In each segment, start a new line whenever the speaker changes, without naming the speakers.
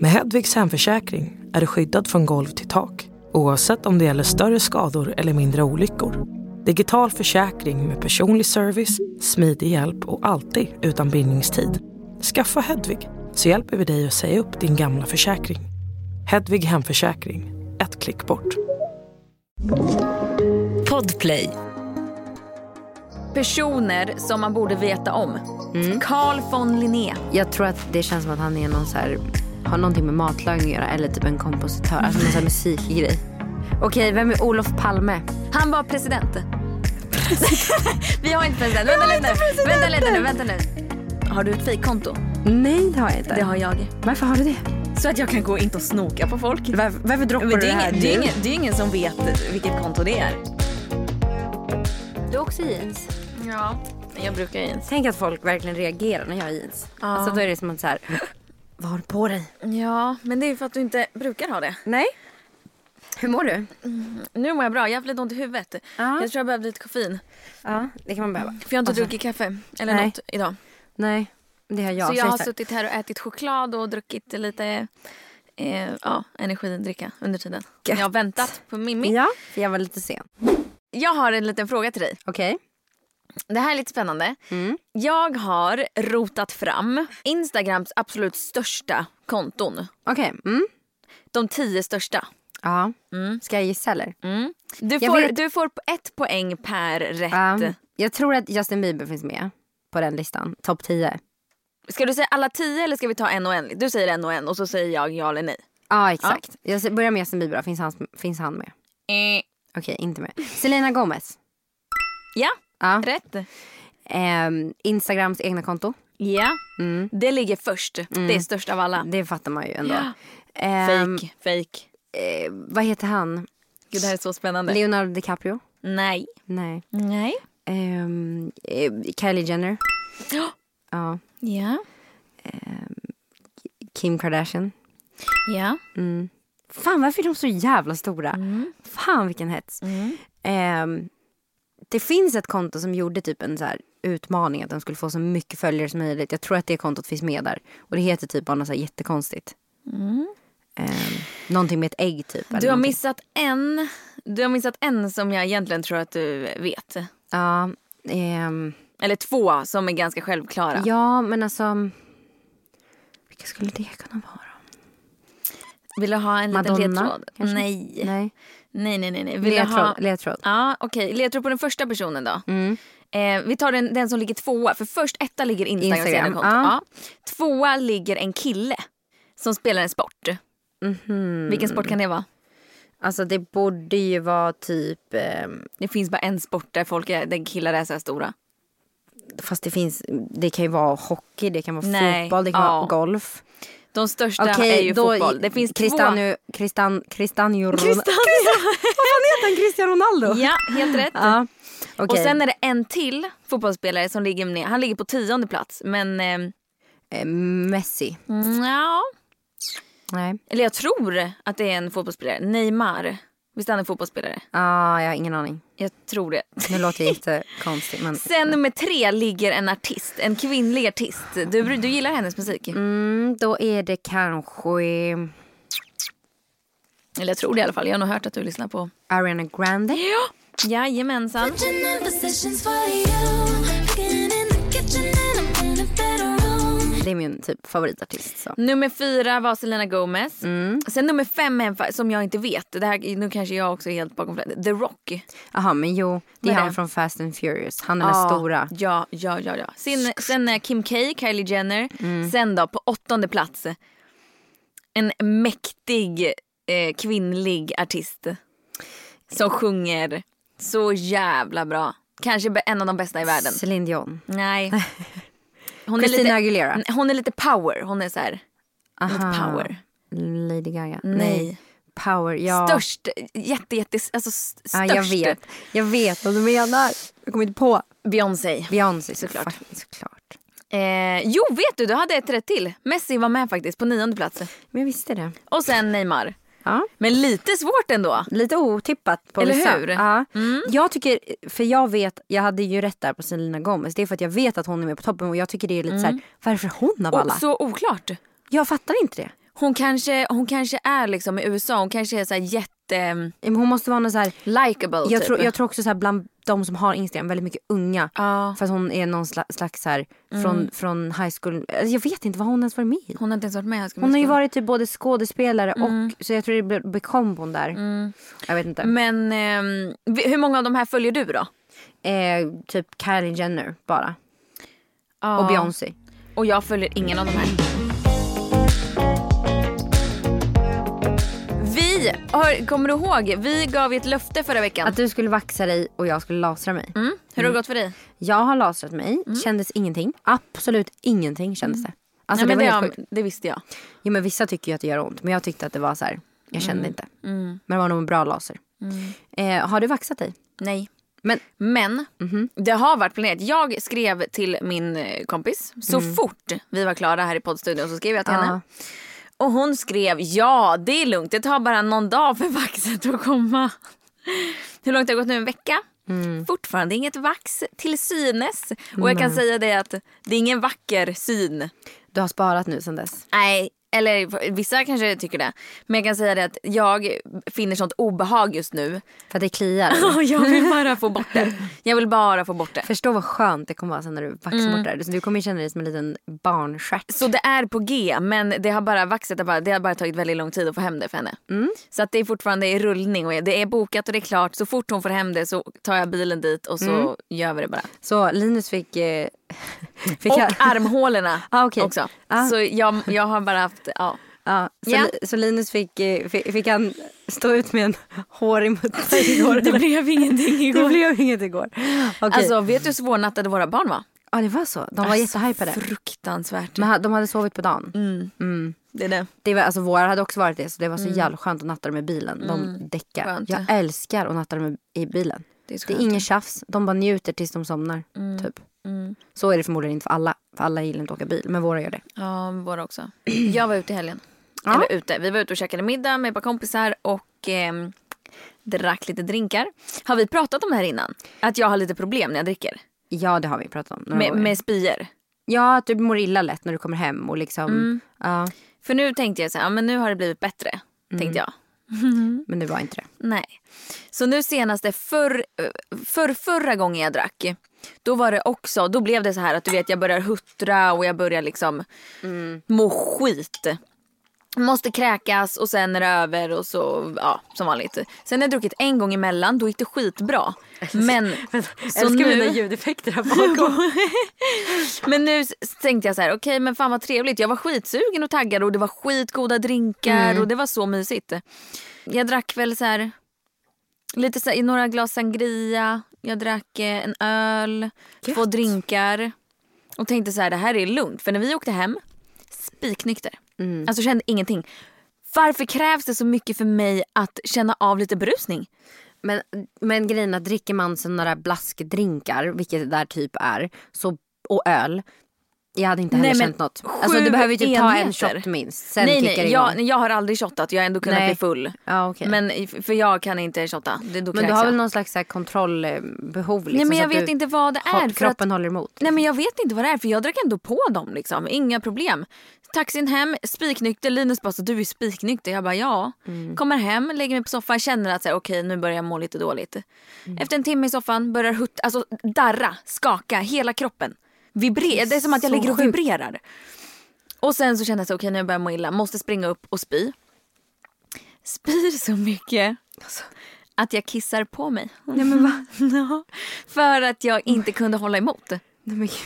Med Hedvigs hemförsäkring är du skyddad från golv till tak oavsett om det gäller större skador eller mindre olyckor. Digital försäkring med personlig service, smidig hjälp och alltid utan bindningstid. Skaffa Hedvig så hjälper vi dig att säga upp din gamla försäkring. Hedvig hemförsäkring, ett klick bort.
Podplay.
Personer som man borde veta om.
Mm.
Carl von Linné.
Jag tror att det känns som att han är någon så här, har någonting med matlagning att göra eller typ en kompositör, alltså någon sån här musikgrej. Okej, vem är Olof Palme?
Han var president. Vi har inte president. Vänta lite nu. Vänta lite nu. Vänta nu. Har du ett fejkkonto?
Nej, det har jag inte.
Det har jag.
Varför har du det?
Så att jag kan gå in och snoka på folk.
Varför, varför droppar
Men
du
det,
det
är
här
ingen, det, är
nu?
ingen, det är ingen som vet vilket konto det är.
Du har också jeans.
Ja, jag brukar jeans.
Tänk att folk verkligen reagerar när jag har jeans. Alltså då är det som att så här, vad har du på dig?
Ja, men det är ju för att du inte brukar ha det.
Nej. Hur mår du?
Nu mår jag bra. Jag har haft lite ont i huvudet.
Ja.
Jag tror jag behövde lite koffein.
Ja, det kan man behöva.
För jag har inte
Ah. Alltså-
druckit kaffe eller
Nej.
något idag.
Nej, det har jag.
så jag har
just det.
suttit här och ätit choklad och druckit lite eh, ja, energidricka under tiden.
Gött.
Jag har väntat på Mimmi.
Ja, för jag var lite sen.
Jag har en liten fråga till dig.
Okej.
Det här är lite spännande.
Mm.
Jag har rotat fram Instagrams absolut största konton.
Okej. Mm.
De tio största.
Ja.
Mm.
Ska jag gissa eller?
Mm. Du,
Jag
får,
vet-
du får ett poäng per
Ja.
rätt.
Um, jag tror att Justin Bieber finns med på den listan. Topp 10.
Ska du säga alla tio eller ska vi ta en och en? Du säger en och en och så säger jag ja eller nej.
Ja, exakt. Jag börjar med Justin Bieber. då. Finns han, finns han med?
Eh,
Okej, inte med. Selena Gomez.
Ja,
Ja.
rätt.
Ehm, Instagrams egna konto.
Ja,
Mm.
det ligger först. Det är störst av alla.
Det fattar man ju ändå.
Mm. Ja.
Ehm,
Fake, fake.
eh, vad heter han?
Gud, det här är så spännande.
Leonardo DiCaprio?
Nej.
Nej.
Nej.
Ehm, eh, Kylie Jenner?
Ja.
Ja.
Ja.
Kim Kardashian?
Ja.
Mm. Fan varför är de så jävla stora?
Mm.
Fan vilken hets. Ehm, det finns ett konto som gjorde typ en så här utmaning att de skulle få så mycket följare som möjligt. Jag tror att det kontot finns med där. Och det heter typ bara något så här jättekonstigt. Ehm, någonting med ett ägg typ. eller
Du har
någonting.
missat en. Du har missat en som jag egentligen tror att du vet.
Ja, ehm,
Eller två som är ganska självklara.
ja men alltså. Vilka skulle det kunna vara?
Vill du ha en
Madonna,
liten ledtråd?
kanske?
Nej. nej.
Nej.
Nej, nej, nej. Vill du ha...
Ledtråd. ledtråd.
Ja, okej. Ledtråd på den första personen då.
Mm.
Eh, vi tar den, den som ligger tvåa. För först etta ligger Instagram.
Instagram,
Instagram.
ja.
Ja. Tvåa ligger en kille som spelar en sport. Vilken sport kan det vara?
Hmm. Alltså det borde ju vara typ. ehm,
Det finns bara en sport där folk är, där killar är så här stora.
Fast det finns, det kan ju vara hockey, det kan vara
Nej.
fotboll, det kan
Ja.
vara golf.
De största
Okej,
är ju
då
fotboll. Det finns två.
Cristiano, Cristan, Cristiano Ronaldo.
Cristiano.
Heter han Cristiano Ronaldo?
Ja, helt rätt.
Ja. Okej.
Och sen är det en till fotbollsspelare som ligger med. Han ligger på tionde plats. Men eh,
Eh, Messi.
ja.
Nej.
Eller jag tror att det är en fotbollsspelare. Neymar. Visst är han en fotbollsspelare?
Ah, jag har ingen aning.
Jag tror det.
Nu låter jag jättekonstig men.
Sen nummer tre ligger en artist. En kvinnlig artist. Du, du gillar hennes musik.
Mm, då är det kanske
Eller jag tror det i alla fall. Jag har nog hört att du lyssnar på.
Ariana Grande.
Ja. Jajamensan.
Kitchen and the sessions for you. Cooking in the kitchen and I'm in a better room.
Det är min typ favoritartist. Så.
Nummer fyra var Selena Gomez.
Mm.
Sen nummer fem är en fa- som jag inte vet. Det här, nu kanske jag också är helt bakom flödet. The Rock.
Jaha men jo, det är
Vad är
han
det? Ah,
från Fast and Furious. Han är den stora.
Ja, ja, ja. ja. Sen, sen är Kim K, Kylie Jenner.
Mm.
Sen då, på åttonde plats. En mäktig eh, kvinnlig artist. Som sjunger så jävla bra. Kanske be- en av de bästa i världen.
Celine Dion.
Nej. Hon är,
Christina
lite,
Aguilera.
hon är lite power. Hon är så här, lite
Aha.
power.
Lady Gaga.
Nej.
Power, ja.
Störst. Jätte, jätte, alltså s-
Ja,
störst.
jag vet. Jag vet vad du menar. Jag kommer inte på.
Beyoncé.
Beyoncé
Såklart.
fucking såklart.
Eh, jo, vet du, du hade ett rätt till. Messi var med faktiskt på nionde plats.
Men jag visste det.
Och sen Neymar.
Ja.
Men lite svårt ändå.
Lite otippat på
Eller
vissa.
hur?
Ja. Jag tycker, för jag vet, jag hade ju rätt där på Selena Gomez. Det är för att jag vet att hon är med på toppen och jag tycker det är lite så här, varför hon av alla?
Och så oklart.
Jag fattar inte det.
Hon kanske, hon kanske är liksom i USA, hon kanske är så här jätte... mm,
Men Hon måste vara någon så här...
Likeable
Jag,
typ.
tror, jag tror också så här bland de som har Instagram, väldigt mycket unga.
Ja.
För att hon är någon slags, slags så här, från, från high school. Alltså, Jag vet inte vad hon ens var med i.
Hon har inte ens varit med i High School
Hon har ju
Musical.
varit typ både skådespelare och... Så jag tror det blir- blir kombon där. Jag vet inte.
Men ehm, vi- hur många av de här följer du då?
Eh, typ Kylie Jenner bara. Och Beyoncé.
Och jag följer ingen av de här. Vi, har, kommer du ihåg? Vi gav ju ett löfte förra veckan.
Att du skulle vaxa dig och jag skulle lasra mig.
mm, hur har det gått för dig?
Jag har lasrat mig. Kändes ingenting. Absolut ingenting kändes det. Alltså
Mm. Nej,
det var
men
helt
det,
sjukt.
har- det visste jag.
Jo, men vissa tycker ju att det gör ont. Men jag tyckte att det var så här. Jag kände
Mm.
inte. Men det var nog en bra laser. Eh, har du vaxat dig?
Nej.
Men-
Men det har varit planerat. Jag skrev till min eh, kompis så fort vi var klara här i poddstudion så skrev jag till
Ja.
henne. Och hon skrev ja det är lugnt det tar bara någon dag för vaxet att komma. Hur långt har det gått nu? En vecka? Mm. Fortfarande inget vax till synes. Och jag kan säga det att det är ingen vacker syn.
Du har sparat nu sen dess.
Nej, eller vissa kanske tycker det. Men jag kan säga det att jag finner sånt obehag just nu.
För att det kliar.
Ja, jag vill bara få bort det. Jag vill bara få bort det.
Förstå vad skönt det kommer vara sen när du vaxar
Mm.
bort det här. Du kommer ju känna dig som en liten barnstjärt.
Så det är på G men det har bara vaxet har bara, det har bara tagit väldigt lång tid att få hem det för henne.
Mm.
Så att det är fortfarande i rullning och det är bokat och det är klart. Så fort hon får hem det så tar jag bilen dit och så
Mm.
gör vi det bara.
Så Linus fick... Eh, fick
Och
jag-
armhålorna
Ah, okej.
också.
Ah.
Så jag, jag har bara haft, ja.
Ja, så,
Ja.
Li- så Linus fick, eh, fick, fick han stå ut med en hårig mutta igår.
Det blev ingenting
Det
igår.
blev inget igår. Okej.
Alltså vet du hur svårnattade våra barn var? Alltså,
ja, det var så. De var jättehypade. Mm.
Fruktansvärt. Mm.
Men ha- de hade sovit på dagen.
Det är det.
Det var, alltså, våra hade också varit det, så det var så jävla skönt att natta dem i bilen. De däckar.
Skönt, ja.
Jag älskar att natta dem i- i bilen.
Det är så
Det är
skönt.
ingen tjafs. De bara njuter tills de somnar. Typ.
Mm.
Så är det förmodligen inte för alla. För alla gillar inte att åka bil, men våra gör det.
Ja, våra också. Jag var ute i helgen.
Ja.
Eller ute. Vi var ute och käkade middag med ett par kompisar och ehm, drack lite drinkar. Har vi pratat om det här innan? Att jag har lite problem när jag dricker?
Ja, det har vi pratat om några
Med,
gånger.
med spyor.
Ja, att du mår illa lätt när du kommer hem och liksom... Ja,
För nu tänkte jag så här, ja, men nu har det blivit bättre.
Mm.
Tänkte jag.
men det var inte det.
Nej. Så nu senaste, för, för förra gången jag drack, då var det också, då blev det så här att du vet jag börjar huttra och jag börjar liksom må skit. Måste kräkas och sen är det över och så, ja som vanligt. Sen har jag druckit en gång emellan, då gick det skitbra. Men, så nu,
ljudeffekter här bakom.
men nu s- tänkte jag så här, okej men fan vad trevligt. Jag var skitsugen och taggad och det var skitgoda drinkar
Mm.
och det var så mysigt. Jag drack väl så här, lite så här, några glas sangria. Jag drack eh, en öl, två drinkar. Och tänkte så här, det här är lugnt. För när vi åkte hem, spiknykter.
Mm.
Alltså kände ingenting. Varför krävs det så mycket för mig att känna av lite berusning?
men, men grejen är att dricker man sådana där blaskdrinkar, vilket det där typ är, så, och öl. Jag hade inte heller
Nej, men
känt något. Alltså
sju
du behöver ju typ ta en
enheter.
shot minst. Sen
nej,
kickar det
nej,
igång.
jag, jag har aldrig shottat. Jag har ändå kunnat
Nej.
bli full.
Ja, okej.
Men, för jag kan inte shotta. Det, då
Men du
kräks
har
jag.
väl någon slags så här kontrollbehov? Liksom,
Nej men
så
jag
att
vet
du,
inte vad det
ha-
är. För att,
Kroppen håller emot.
nej men jag vet inte vad det är för jag drack ändå på dem liksom. Inga problem. Taxin hem, spiknykter. Linus bara så du är spiknykter. Jag bara ja.
Mm.
Kommer hem, lägger mig på soffan, känner att så här, okej nu börjar jag må lite dåligt.
Mm.
Efter en timme i soffan börjar hutta, alltså darra, skaka hela kroppen. Vibrera. Det är som att jag
så
ligger och
sjukt.
vibrerar. Och sen så känner jag så här, okej nu börjar jag må illa. Måste springa upp och spy. Spyr så mycket att jag kissar på mig.
Alltså. Nej men va?
Ja, för att jag inte kunde hålla emot.
Nej men gud.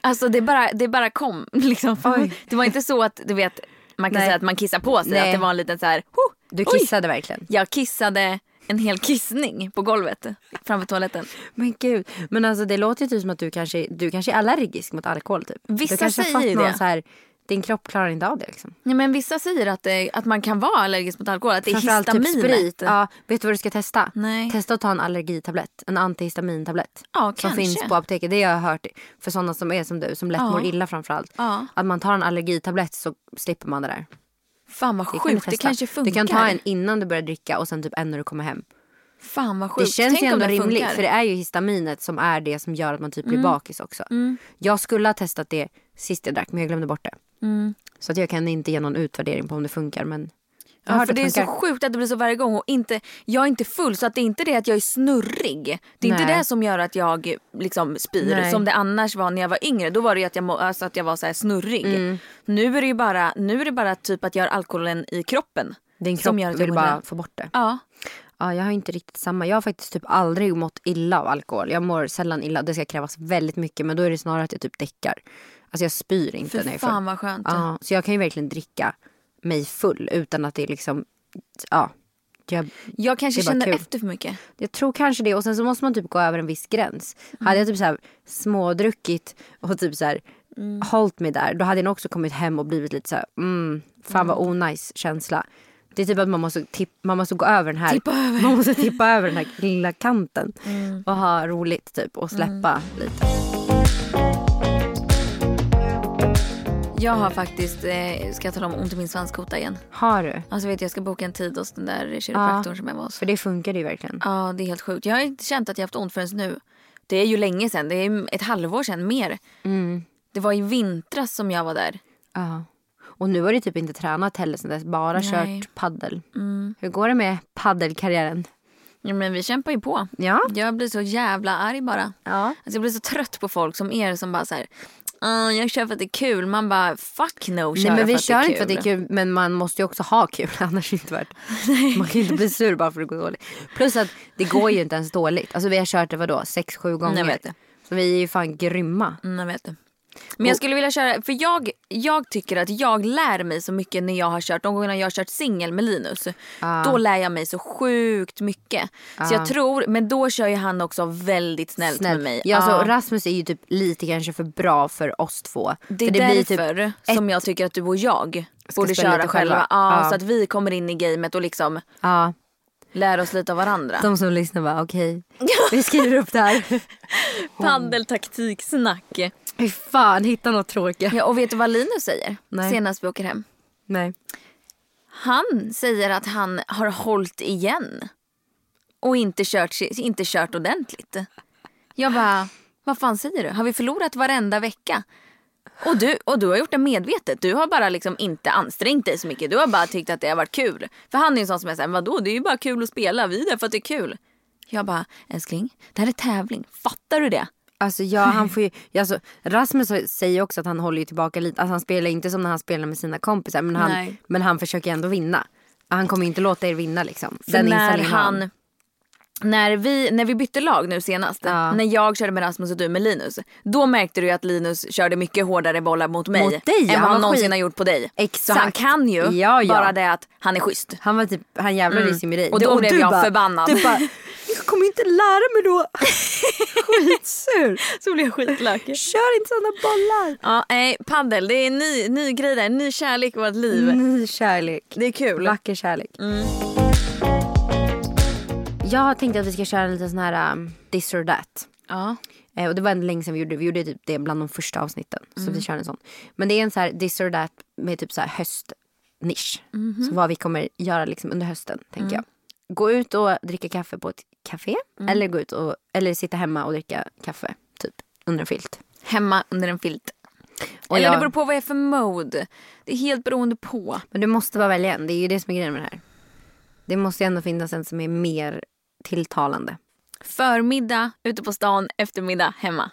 Alltså det bara, det bara kom. Liksom.
Oj.
Det var inte så att du vet, man kan
Nej.
säga att man kissar på sig.
Nej.
Att det var en liten så här, "Ho,
Du
oj."
kissade verkligen.
Jag kissade en hel kissning på golvet framför toaletten.
Men gud. Men alltså det låter ju typ som att du kanske, du kanske är allergisk mot alkohol typ.
Vissa
du kanske har
säger
fått
ju
någon
det.
Så här, din kropp klarar inte av det liksom.
Nej, men vissa säger att, det, att man kan vara allergisk mot alkohol. Att det är
Framförallt typ
histaminet.
sprit. Ja, vet du vad du ska testa?
Nej.
Testa att ta en allergitablett. En antihistamintablett.
Ja,
som
kanske.
finns på apoteket. Det har jag hört för sådana som är som du. Som lätt
Ja.
mår illa framförallt.
Ja.
Att man tar en allergitablett så slipper man det där.
Fan vad
Det
sjukt.
kan du
det
testa.
kanske funkar.
Du kan ta en innan du börjar dricka och sen typ en när du kommer hem.
Fan vad
Det
sjukt.
känns ju
Tänk om
ändå
det
rimligt
funkar. Mm.
för det är ju histaminet som är det som
Mm.
gör att man typ blir bakis också. Jag skulle ha testat det sist jag drack men jag glömde bort det. Så att jag kan inte ge någon utvärdering på om det funkar. Men jag har
Ja,
hört
för
att
det är så
funkar.
sjukt att det blir så varje gång. Och inte, jag är inte full så att det är inte det att jag är snurrig. Det är inte
Nej.
det som gör att jag liksom spyr
Nej.
som det annars var när jag var yngre. Då var det ju att jag, må, alltså att jag var så här snurrig.
Mm.
Nu är det ju bara, nu är det bara typ att jag har alkoholen i kroppen.
Din
som
kropp
gör att jag
vill
mår
bara
illa.
få bort det.
Ja.
Ja, jag har inte riktigt samma. Jag har faktiskt typ aldrig mått illa av alkohol. Jag mår sällan illa. Det ska krävas väldigt mycket. Men då är det snarare att jag typ däckar. Alltså jag spyr inte när jag
Fy
är full.
fan vad skönt.
Ja, så jag kan ju verkligen dricka mig full utan att det är liksom... Ja, jag,
Jag kanske
Det är bara
känner
kul.
efter för mycket.
jag tror kanske det. Och sen så måste man typ gå över en viss gräns.
Mm.
Hade jag typ så här smådruckit och typ så här
Mm.
hållit mig där. Då hade jag nog också kommit hem och blivit lite så här... Mm, fan vad onajs känsla. Det är typ att man måste, tipp, man måste gå över den här...
Tippa över. Mm.
Man måste tippa över den här lilla kanten. Och ha roligt typ och släppa lite.
Jag har faktiskt, eh, ska jag tala om ont i min svanskota igen?
Har du?
Alltså vet jag, jag ska boka en tid hos den där kiropraktorn som jag var hos.
För det funkar ju verkligen.
Ja, det är helt sjukt. Jag har inte känt att jag haft ont förrän nu. Det är ju länge sedan. Det är ett halvår sedan, mer.
Mm.
Det var i vintras som jag var där.
Ja. Och nu har du typ inte tränat heller sen dess. Bara
Nej. Mm.
kört paddel. Hur går det med paddelkarriären?
Ja, men vi kämpar ju på.
Ja.
Jag blir så jävla arg bara.
Ja.
Alltså, jag blir så trött på folk som er som bara så här... "Ah, jag kör för att det är kul. Man bara fuck no
Nej
köra
men vi
för att
kör inte för att det är kul men man måste ju också ha kul annars är det inte värt Man kan ju inte bli sur bara för att det går dåligt. Plus att det går ju inte ens dåligt. Alltså vi har kört det vadå, 6-7 gånger.
Jag vet det.
Så vi är ju fan grymma.
Mm, jag vet det. Men jag skulle vilja köra, för jag, jag tycker att jag lär mig så mycket när jag har kört, de gångerna jag har kört singel med Linus.
Ah.
Då lär jag mig så sjukt mycket. Så jag tror, men då kör ju han också väldigt snällt med mig.
Ja, alltså,
Ja.
Rasmus är ju typ lite kanske för bra för oss två.
Det är
för blir typ-
därför som jag tycker att du och jag borde
spela
köra
lite
själva.
själva. Ah.
Ja,
Ja.
Så att vi kommer in i gamet och liksom
ja,
lär oss lite av varandra.
de som lyssnar bara okej, vi skriver upp det här.
Paddeltaktiksnack.
Fy fan, hitta något tråkigt.
Ja, och vet du vad Linus säger
Nej.
senast vi åker hem?
Nej.
Han säger att han har hållit igen och inte kört, inte kört ordentligt. Jag bara, vad fan säger du? Har vi förlorat varenda vecka? Och du, och du har gjort det medvetet. Du har bara liksom inte ansträngt dig så mycket. Du har bara tyckt att det har varit kul. För han är ju en sån som är såhär, vadå det är ju bara kul att spela. Vi är där för att det är kul. Jag bara, älskling, det här är tävling. Fattar du det?
Alltså ja, han får ju, alltså, Rasmus har- säger också att han håller ju tillbaka lite. Alltså, han spelar inte som när han spelar med sina kompisar. Men han,
Nej.
men han försöker ändå vinna. Han kommer ju inte låta er vinna liksom.
För när
inställningen har
han... När vi, när vi bytte lag nu senast,
Ja.
när jag körde med Rasmus och du med Linus. Då märkte du ju att Linus körde mycket hårdare bollar mot mig.
Mot dig, ja,
än
han
vad
var
han någonsin
skit-
har gjort på dig. Så
Exakt.
han kan ju,
Ja, ja.
bara det att han är schysst.
Han var typ, han jävlades ju med dig.
Mm. Och då blev
du
jag förbannad.
Du bara, jag kommer inte lära mig då. Skitsur.
Så blev jag skitlökig.
Kör inte sådana bollar.
Ja, nej, paddel, det är en ny, ny grej där, en ny kärlek i vårt liv.
Ny kärlek.
Det Mm. är kul.
Vacker kärlek. Jag tänkte att vi ska köra en liten sån här um, this or that.
Ja.
Eh, och det var en länge sedan vi gjorde det. Vi gjorde typ det bland de första avsnitten. Så
Mm.
vi kör en sån. Men det är en så här this or that med typ så här höstnisch.
Mhm.
Så vad vi kommer göra liksom under hösten,
Mm.
tänker jag. Gå ut och dricka kaffe på ett café. Eller, gå ut och, eller sitta hemma och dricka kaffe, typ. Under en filt.
Hemma under en filt.
Och
Eller
jag-
det beror på vad jag är för mode. Det är helt beroende på.
Men du måste bara välja en. Det är ju det som är grejen med det här. Det måste ju ändå finnas en som är mer tilltalande.
Förmiddag, ute på stan, eftermiddag, hemma.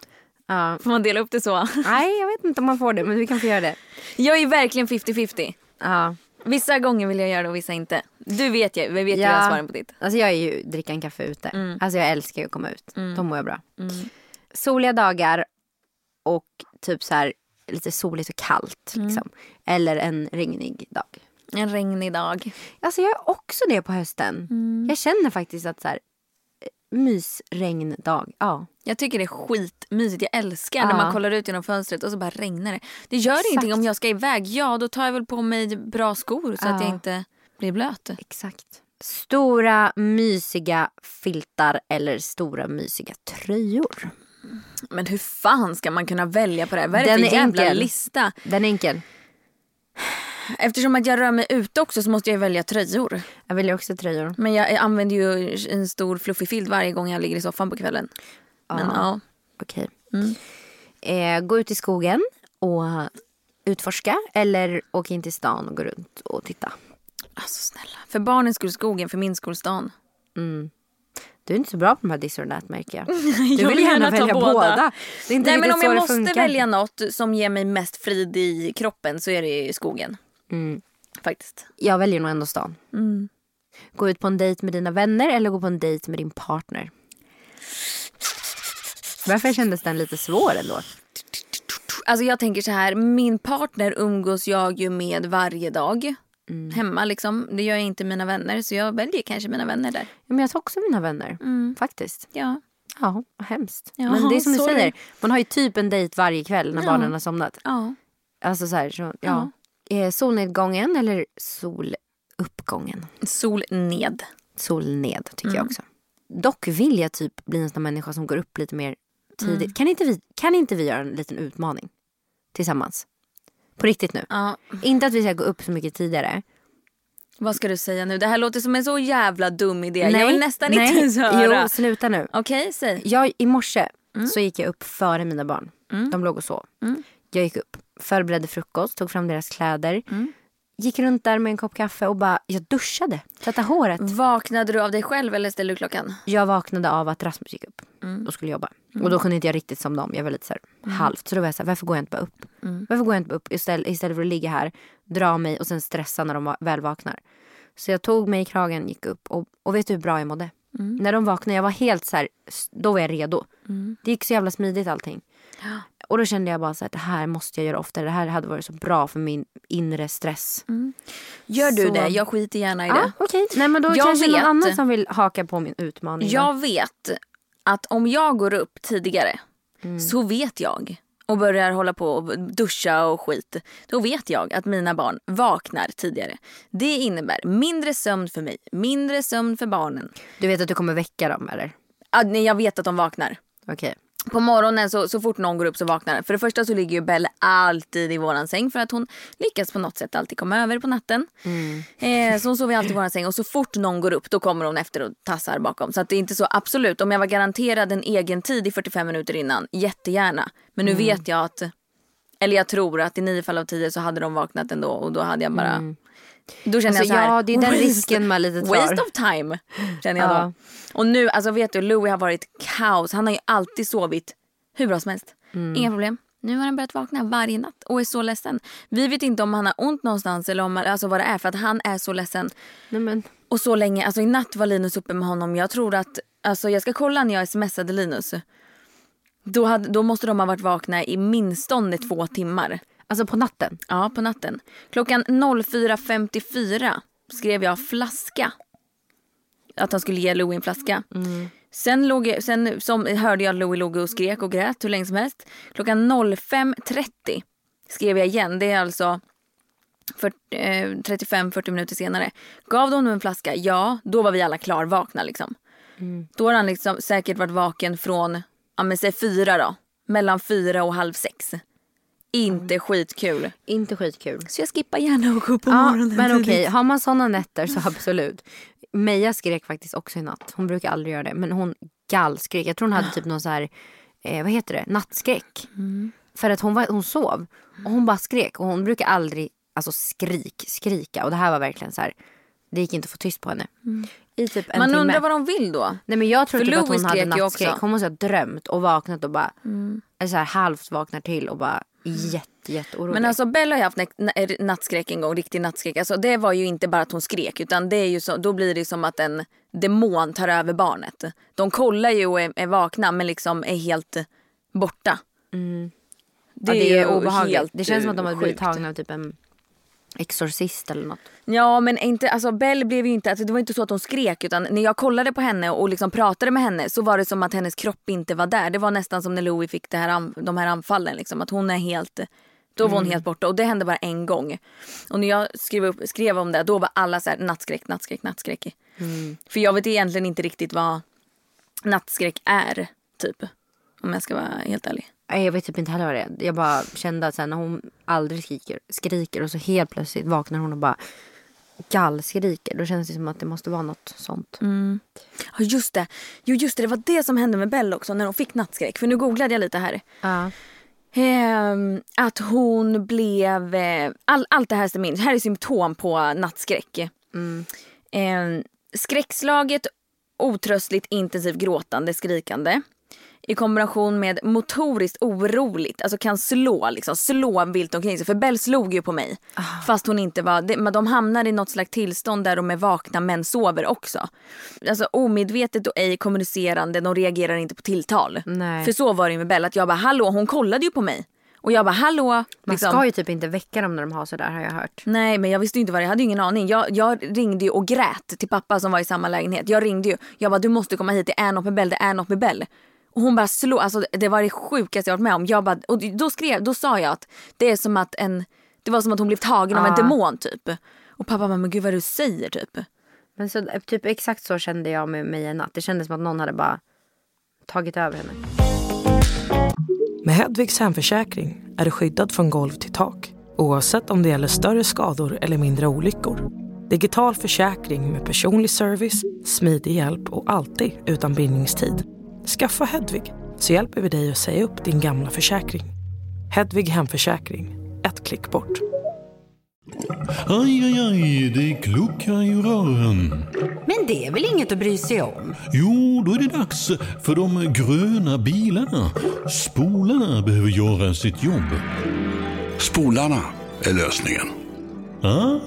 Ja.
Får man dela upp det så?
Nej, jag vet inte om man får det, men vi kan få göra det.
Jag är verkligen 50-50.
Ja.
Vissa gånger vill jag göra det och vissa inte. Du vet ju, vi vet ju jag svaren på ditt.
Alltså jag är ju dricka en kaffe ute. Alltså jag älskar ju att komma ut. Då mår jag bra. Soliga dagar och typ så här lite soligt och kallt. Liksom. Eller en regnig dag.
En regnig dag.
Alltså jag är också det på hösten. Jag känner faktiskt att så här eh, mysregndag. Ja.
Jag tycker det är skitmysigt. Jag älskar när
Ja.
man kollar ut genom fönstret och så bara regnar det. Det gör
Exakt.
ingenting om jag ska iväg. Ja, då tar jag väl på mig bra skor så att
Ja.
jag inte blir blöt.
Exakt. Stora mysiga filtar eller stora mysiga tröjor.
Men hur fan ska man kunna välja på det här? Vad är det
Den
för
är
jävla
enkel.
lista?
Den är enkel.
Eftersom att jag rör mig ute också så måste jag välja tröjor.
Jag väljer också tröjor.
Men jag använder ju en stor fluffig filt varje gång jag ligger i soffan på kvällen. Men ja. Mm.
Okej. Eh, gå ut i skogen och utforska eller åk in till stan och gå runt och titta.
Alltså snälla. För barnens skull skogen, för min skull stan.
Du är inte så bra på de här this or that märker jag.
Jag
Du
vill gärna ta båda.
Det är inte
Nej men
riktigt
om
så
jag
det
måste
funkar.
välja något som ger mig mest frid i kroppen så är det ju skogen.
Mm.
Faktiskt.
Jag väljer nog ändå stan.
Mm.
Gå ut på en dejt med dina vänner eller gå på en dejt med din partner. Varför kändes den lite svår ändå?
Alltså jag tänker så här, min partner umgås jag ju med varje dag.
Mm.
Hemma liksom. Det gör jag inte mina vänner så jag väljer kanske mina vänner där.
Ja, Men jag tar också mina vänner,
Mm.
faktiskt.
Ja.
Ja, vad hemskt.
Ja,
Men det är som
sorry.
du säger, man har ju typ en dejt varje kväll när
Ja.
barnen har somnat.
ja.
Alltså så här, så, ja. Eh, solnedgången eller soluppgången?
Sol ned.
Solned tycker
Mm.
jag också. Dock vill jag typ bli en sån här människa som går upp lite mer tidigt.
Mm.
Kan, inte vi, kan inte vi göra en liten utmaning tillsammans? På riktigt nu.
Ja.
Inte att vi ska gå upp så mycket tidigare.
Vad ska du säga nu? Det här låter som en så jävla dum idé. jag vill nästan
nej.
inte ens höra.
Jo, sluta nu.
Okej, säg.
Jag, I morse så gick jag upp före mina barn. De låg och sov. Jag gick upp, förberedde frukost, tog fram deras kläder. Gick runt där med en kopp kaffe och bara, jag duschade. Tvättade håret.
Vaknade du av dig själv eller ställde du klockan?
Jag vaknade av att Rasmus gick upp
Mm.
och skulle jobba. Och då kunde inte jag riktigt somna om. Jag var lite så här, halvt. Så då var jag så här, varför går jag inte bara upp?
Mm.
Varför går jag inte bara upp istället, istället för att ligga här, dra mig och sen stressa när de va- väl vaknar? Så jag tog mig i kragen, gick upp och, och vet du hur bra jag mådde?
Mm.
När de vaknade, jag var helt så här, s- då var jag redo.
Mm.
Det gick så jävla smidigt allting. Och då kände jag bara så här, det här måste jag göra oftare. Det här hade varit så bra för min inre stress.
Mm. Gör du
Så-
det? Jag skiter gärna i det.
Ja, okej. Nej men då
Jag
kanske
vet-
någon annan som vill haka på min utmaning. då.
Jag vet att om jag går upp tidigare
Mm.
så vet jag och börjar hålla på och duscha och skit. Då vet jag att mina barn vaknar tidigare. Det innebär mindre sömn för mig, mindre sömn för barnen.
Du vet att du kommer väcka dem eller?
Ah, nej, jag vet att de vaknar.
Okej.
På morgonen så, så fort någon går upp så vaknar den. För det första så ligger ju Belle alltid i våran säng för att hon lyckas på något sätt alltid komma över på natten. Eh, så hon sover ju alltid i våran säng och så fort någon går upp då kommer hon efter och tassar bakom. Så att det är inte så absolut. Om jag var garanterad en egen tid i 45 minuter innan, jättegärna. Men nu vet jag att, eller jag tror att i nio fall av tio så hade de vaknat ändå och då hade jag bara Då känner
Mm. Alltså,
jag så här,
ja, det är den
waste-
risken man lite tar.
Waste of time känner jag
Ja.
då. Och nu, alltså vet du, Louis har varit kaos. Han har ju alltid sovit hur bra som helst.
Mm.
Inga problem. Nu har han börjat vakna varje natt och är så ledsen. Vi vet inte om han har ont någonstans eller om, alltså vad det är för att han är så ledsen.
Nej men.
Och så länge, alltså i natt var Linus uppe med honom. Jag tror att, alltså jag ska kolla när jag smsade Linus. Då, hade, då måste de ha varit vakna i minstone två timmar.
Alltså på natten.
Ja, på natten. Klockan 04.54 skrev jag flaska. Att han skulle ge Louie en flaska.
Mm.
Sen, låg, jag- sen som, hörde jag att Louie låg och skrek och grät hur länge som helst. Klockan 05.30 skrev jag igen. Det är alltså för- eh, 35-40 minuter senare. Gav de honom en flaska? Ja, då var vi alla klarvakna. Liksom. Då har han liksom säkert varit vaken från, ja men säg fyra då. Mellan fyra och halv sex. Inte skitkul.
Inte skitkul.
Så jag skippar gärna att gå upp på
Ja,
morgonen
men okej,
tidigt.
har man såna nätter så absolut. Meja skrek faktiskt också i natt. Hon brukar aldrig göra det. Men hon gallskrek. Jag tror hon hade typ någon så här, eh, vad heter det, nattskräck. För att hon, var, hon sov och hon bara skrek. Och hon brukar aldrig alltså skrik, skrika. Och det här var verkligen så här, det gick inte att få tyst på henne. I typ en
Man
timme.
undrar vad de vill då.
Nej men jag tror
För
typ att
Louis
hon hade
skrek ju också.
nattskräck. Hon måste ha drömt och vaknat och bara eller så här, halvt vaknar till och bara jätte jätteorolig.
Men alltså Bella har ju haft nä- nä- nattskräck en gång, riktig nattskräck. Alltså, det var ju inte bara att hon skrek utan det är ju så, då blir det som att en demon tar över barnet. De kollar ju och är, är vakna men liksom är helt borta.
det, Mm. ja, det är
ju
obehagligt.
helt,
det känns som att de hade blivit
sjukt.
tagna av typ en exorcist eller något.
Ja men inte, alltså Bell blev ju inte, alltså det var inte så att hon skrek utan när jag kollade på henne och liksom pratade med henne så var det som att hennes kropp inte var där. Det var nästan som när Louie fick det här, an- de här anfallen liksom, att hon är helt, då var hon helt borta och det hände bara en gång. Och när jag skrev, upp, skrev om det då var alla så här nattskräck, nattskräck, nattskräck. För jag vet egentligen inte riktigt vad nattskräck är typ. Om jag ska vara helt ärlig.
Nej, Jag vet typ inte heller vad det är. Jag bara kände att sen när hon aldrig skriker, skriker och så helt plötsligt vaknar hon och bara gallskriker. Då känns det som att det måste vara något sånt.
Mm. Ja just det, jo just det, det var det som hände med Bell också när hon fick nattskräck. För nu googlade jag lite här.
Ja.
Ehm, att hon blev... eh, All, allt det här stämmer in. Här är symptom på nattskräck. Ehm, skräckslaget, otröstligt, intensivt gråtande, skrikande. I kombination med motoriskt oroligt, alltså kan slå liksom, slå vilt omkring sig. För Bell slog ju på mig. Fast hon inte var, det- men de hamnar i något slags tillstånd där de är vakna men sover också. Alltså omedvetet och ej kommunicerande, de reagerar inte på tilltal.
Nej.
För så var det ju med Bell, att jag bara hallå, hon kollade ju på mig. Och jag bara hallå.
Man
liksom.
ska ju typ inte väcka dem när de har sådär har jag hört.
Nej men jag visste ju inte vad det jag hade ju ingen aning. Jag, jag ringde ju och grät till pappa som var i samma lägenhet. Jag ringde ju. Jag bara du måste komma hit, det är något med Bell, det är något med Bell. Och hon bara slog, alltså det var det sjukaste jag varit med om. Jag bara, och då skrev, då sa jag att det är som att en, det var som att hon blev tagen av en
Ah.
demon typ. Och pappa bara men gud vad du säger typ.
Men så, typ exakt så kände jag med mig en natt. Det kändes som att någon hade bara tagit över henne.
Med Hedvigs hemförsäkring är du skyddad från golv till tak oavsett om det gäller större skador eller mindre olyckor. Digital försäkring med personlig service, smidig hjälp och alltid utan bindningstid. Skaffa Hedvig så hjälper vi dig att säga upp din gamla försäkring. Hedvig hemförsäkring, ett klick bort.
Aj, aj, aj, det kluckar i rören.
Men det är väl inget att bry sig om?
Jo, då är det dags för de gröna bilarna. Spolarna behöver göra sitt jobb.
Spolarna är lösningen.
Ah,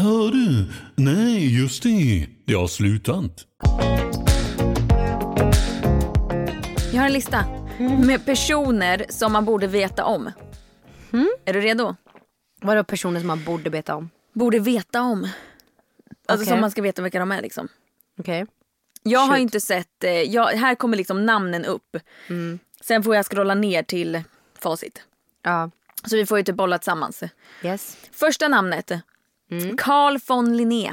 hör du? Nej, just det. Det har slutat.
Jag har en lista med personer som man borde veta om.
Mm.
Är du redo?
Vadå personer som man borde veta om?
Borde veta om. Alltså
Okej.
som man ska veta vilka de är liksom.
Okej.
Jag har ju inte sett, eh, jag, här kommer liksom namnen upp.
Mm.
Sen får jag scrolla ner till facit.
Ja.
Så vi får ju typ bolla tillsammans.
Yes.
Första namnet.
Mm.
Carl von Linné.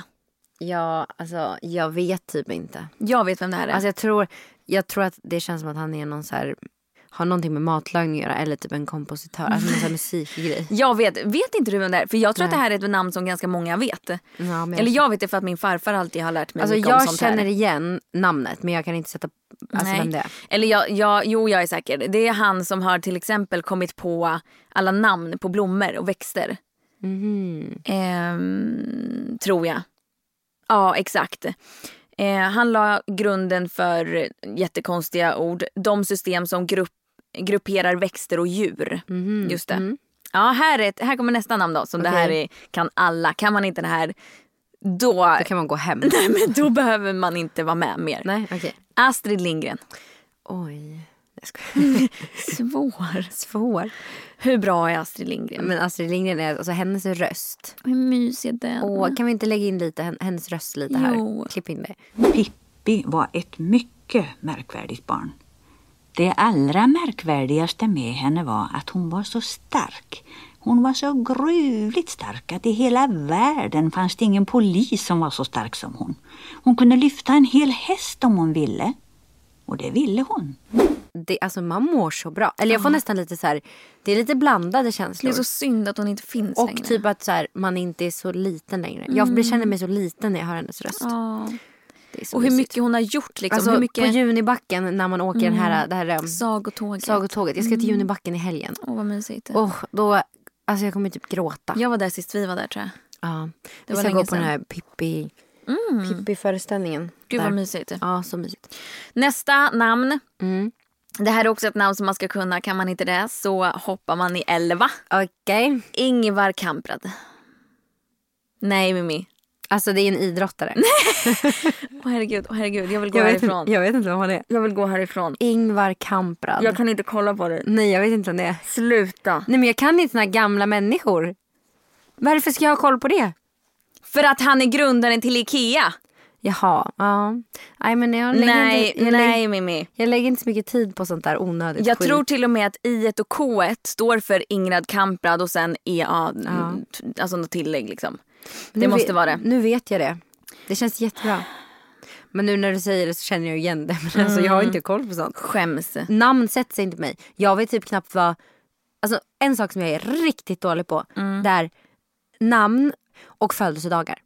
Ja, alltså jag vet typ inte.
Jag vet vem det här är.
Alltså jag tror, jag tror att det känns som att han är någon så här har någonting med matlagning att göra eller typ en kompositör, alltså någon sån här musikgrej.
jag vet, vet inte du vem det är? För jag tror att
Nej.
det här är ett namn som ganska många vet.
Ja, men jag-
Eller jag vet det för att min farfar alltid har lärt mig
Alltså
mycket om
jag
sånt här.
känner igen namnet men jag kan inte sätta alltså
Nej.
vem det är.
Eller jag, jag, jo, jag är säker. Det är han som har till exempel kommit på alla namn på blommor och växter. Mhm. Ehm, tror jag. Ja, exakt. Eh, han la grunden för jättekonstiga ord. De system som grupp, grupperar växter och djur. Just det. Ja, här, är ett, här kommer nästa namn då. Som det här
Mhm, Okej.
är, kan alla. Kan man inte det här, då,
Då kan man gå hem.
nej, men då behöver man inte vara med mer.
Nej, okej.
Astrid Lindgren.
Oj. Jag skojar.
Svår.
Svår.
Hur bra är Astrid Lindgren?
Men Astrid Lindgren, är, alltså hennes röst.
hur mysig är den?
Åh, kan vi inte lägga in lite, hen- hennes röst lite här?
Jo.
Klipp in det.
Pippi var ett mycket märkvärdigt barn. Det allra märkvärdigaste med henne var att hon var så stark. Hon var så gruvligt stark att i hela världen fanns det ingen polis som var så stark som hon. Hon kunde lyfta en hel häst om hon ville. Och det ville hon.
det alltså man mår så bra. Eller jag får nästan lite så här, det är lite blandade
det
känslor.
är så synd att hon inte finns längre.
och typ att så här, man inte är så liten längre. Jag blir- känner mig så liten när jag hör hennes röst.
Mm. Ja.
Det är så
Och hur
mysigt.
mycket hon har gjort liksom.
alltså,
hur
På
mycket Mm.
Junibacken när man åker den här, det här eh,
sagotåget.
sagotåget. Jag ska
Mm.
till Junibacken i helgen.
Åh vad mysigt.
Åh, då, alltså jag kommer typ gråta.
Jag var där sist vi var där tror jag.
Ja. Vi
var
ska
länge
gå på den
sedan. Mm.
här Pippi, Pippi-föreställningen.
Gud
där.
vad mysigt.
Ja, så mysigt.
Nästa namn.
Mm.
Det här är också ett namn som man ska kunna. Kan man inte det så hoppar man i elva.
Okej.
Ingvar Kamprad. Nej Mimi.
Alltså det är en idrottare.
Åh herregud, åh herregud. Jag vill gå
vet,
härifrån.
inte, jag vet inte vem han är.
jag vill gå härifrån.
Ingvar Kamprad.
Jag kan inte kolla på det.
Nej, jag vet inte vem det är.
Sluta.
Nej men jag kan inte såna här gamla människor. Varför ska jag ha koll på det?
För att han är grundaren till Ikea.
Jaha, ja. Nej men jag lägger,
Nej,
inte, jag,
nej
Lägger,
Mimi.
jag lägger inte så mycket tid på sånt där onödigt
Jag
skit.
tror till och med att I och K står för Ingrid Kamprad och sen EA, mm, t- alltså något tillägg liksom. Det
Nu
måste
vet-
vara det.
Nu vet jag det. Det känns jättebra. Men nu när du säger det så känner jag igen det. Men alltså jag har inte koll på sånt.
Mm. Skäms.
Namn sätter sig inte på mig. Jag vet typ knappt vad... Alltså en sak som jag är riktigt dålig på.
Mm.
Det är namn och födelsedagar.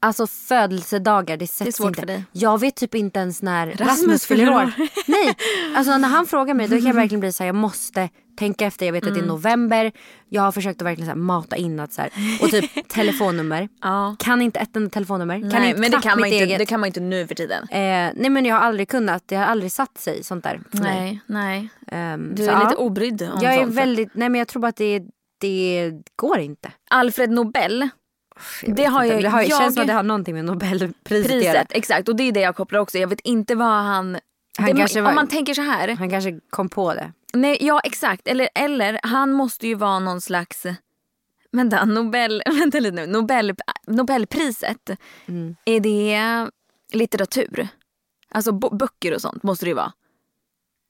Alltså födelsedagar det sätts
Mm. svårt
inte.
för dig.
Jag vet typ inte ens när Rasmus,
fyller
fyller
år. Mm.
år. Nej, alltså när han frågar mig då kan jag verkligen bli så här, jag måste tänka efter. Jag vet att det är november. Jag har försökt att verkligen så här, mata in att så här, och typ telefonnummer.
Ja.
Kan inte ett enda telefonnummer. kan
Nej,
inte
men det
knappt
kan, man
mitt
inte,
eget.
det kan man inte nu för tiden.
Eh, nej men jag har aldrig kunnat, det har aldrig satt sig sånt där för mig.
Nej, nej.
Ehm,
Du
så,
är
ja.
lite obrydd om
Jag är
sånt.
väldigt, nej men jag tror bara att det, det går inte.
Alfred Nobel,
Jag
Det
vet
har
inte.
jag-
det har,
jag-
känns som att det har någonting med Nobelpriset att göra.
priset. Exakt, och det är det jag kopplar också. Jag vet inte vad han...
Han
det,
kanske var-
Om man tänker så här.
Han kanske kom på det.
Nej, ja exakt. Eller, eller han måste ju vara någon slags... Vänta, Nobel, vänta lite nu. Nobel, Nobelpriset, är det litteratur? Alltså bo- böcker och sånt måste det ju vara.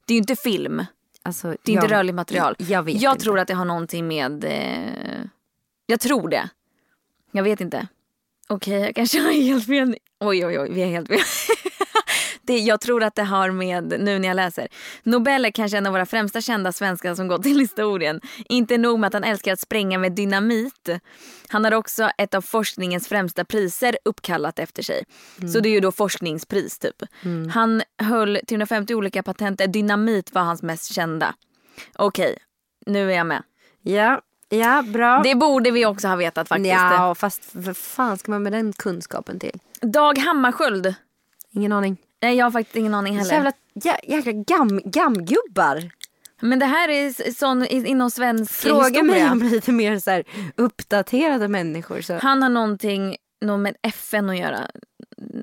Det är ju inte film.
Alltså,
Det är inte
jag-
rörligt material.
Jag vet
jag
inte.
tror att det har någonting med... Eh, jag tror det. Jag vet inte. Okej, jag kanske har helt fel. Oj, oj, oj, vi är helt fel. det, jag tror att det har med, nu när jag läser. Nobel är kanske en av våra främsta kända svenskar som gått till historien. Inte nog med att han älskar att spränga med dynamit. Han har också ett av forskningens främsta priser uppkallat efter sig.
Mm.
Så det är ju då forskningspris typ. Han höll 350 olika patent. Dynamit var hans mest kända. Okej, nu är jag med.
Ja, ja bra.
Det borde vi också ha vetat faktiskt.
Ja, fast vad fan ska man med den kunskapen till?
Dag Hammarskjöld.
Ingen aning.
Nej, jag har faktiskt ingen aning heller.
Jävla, jä, jäkla gam, gamgubbar.
Men det här är s- sån i- inom svensk
Fråga mig
historia.
om lite mer så här, uppdaterade människor. Så.
Han har någonting, något med FN att göra.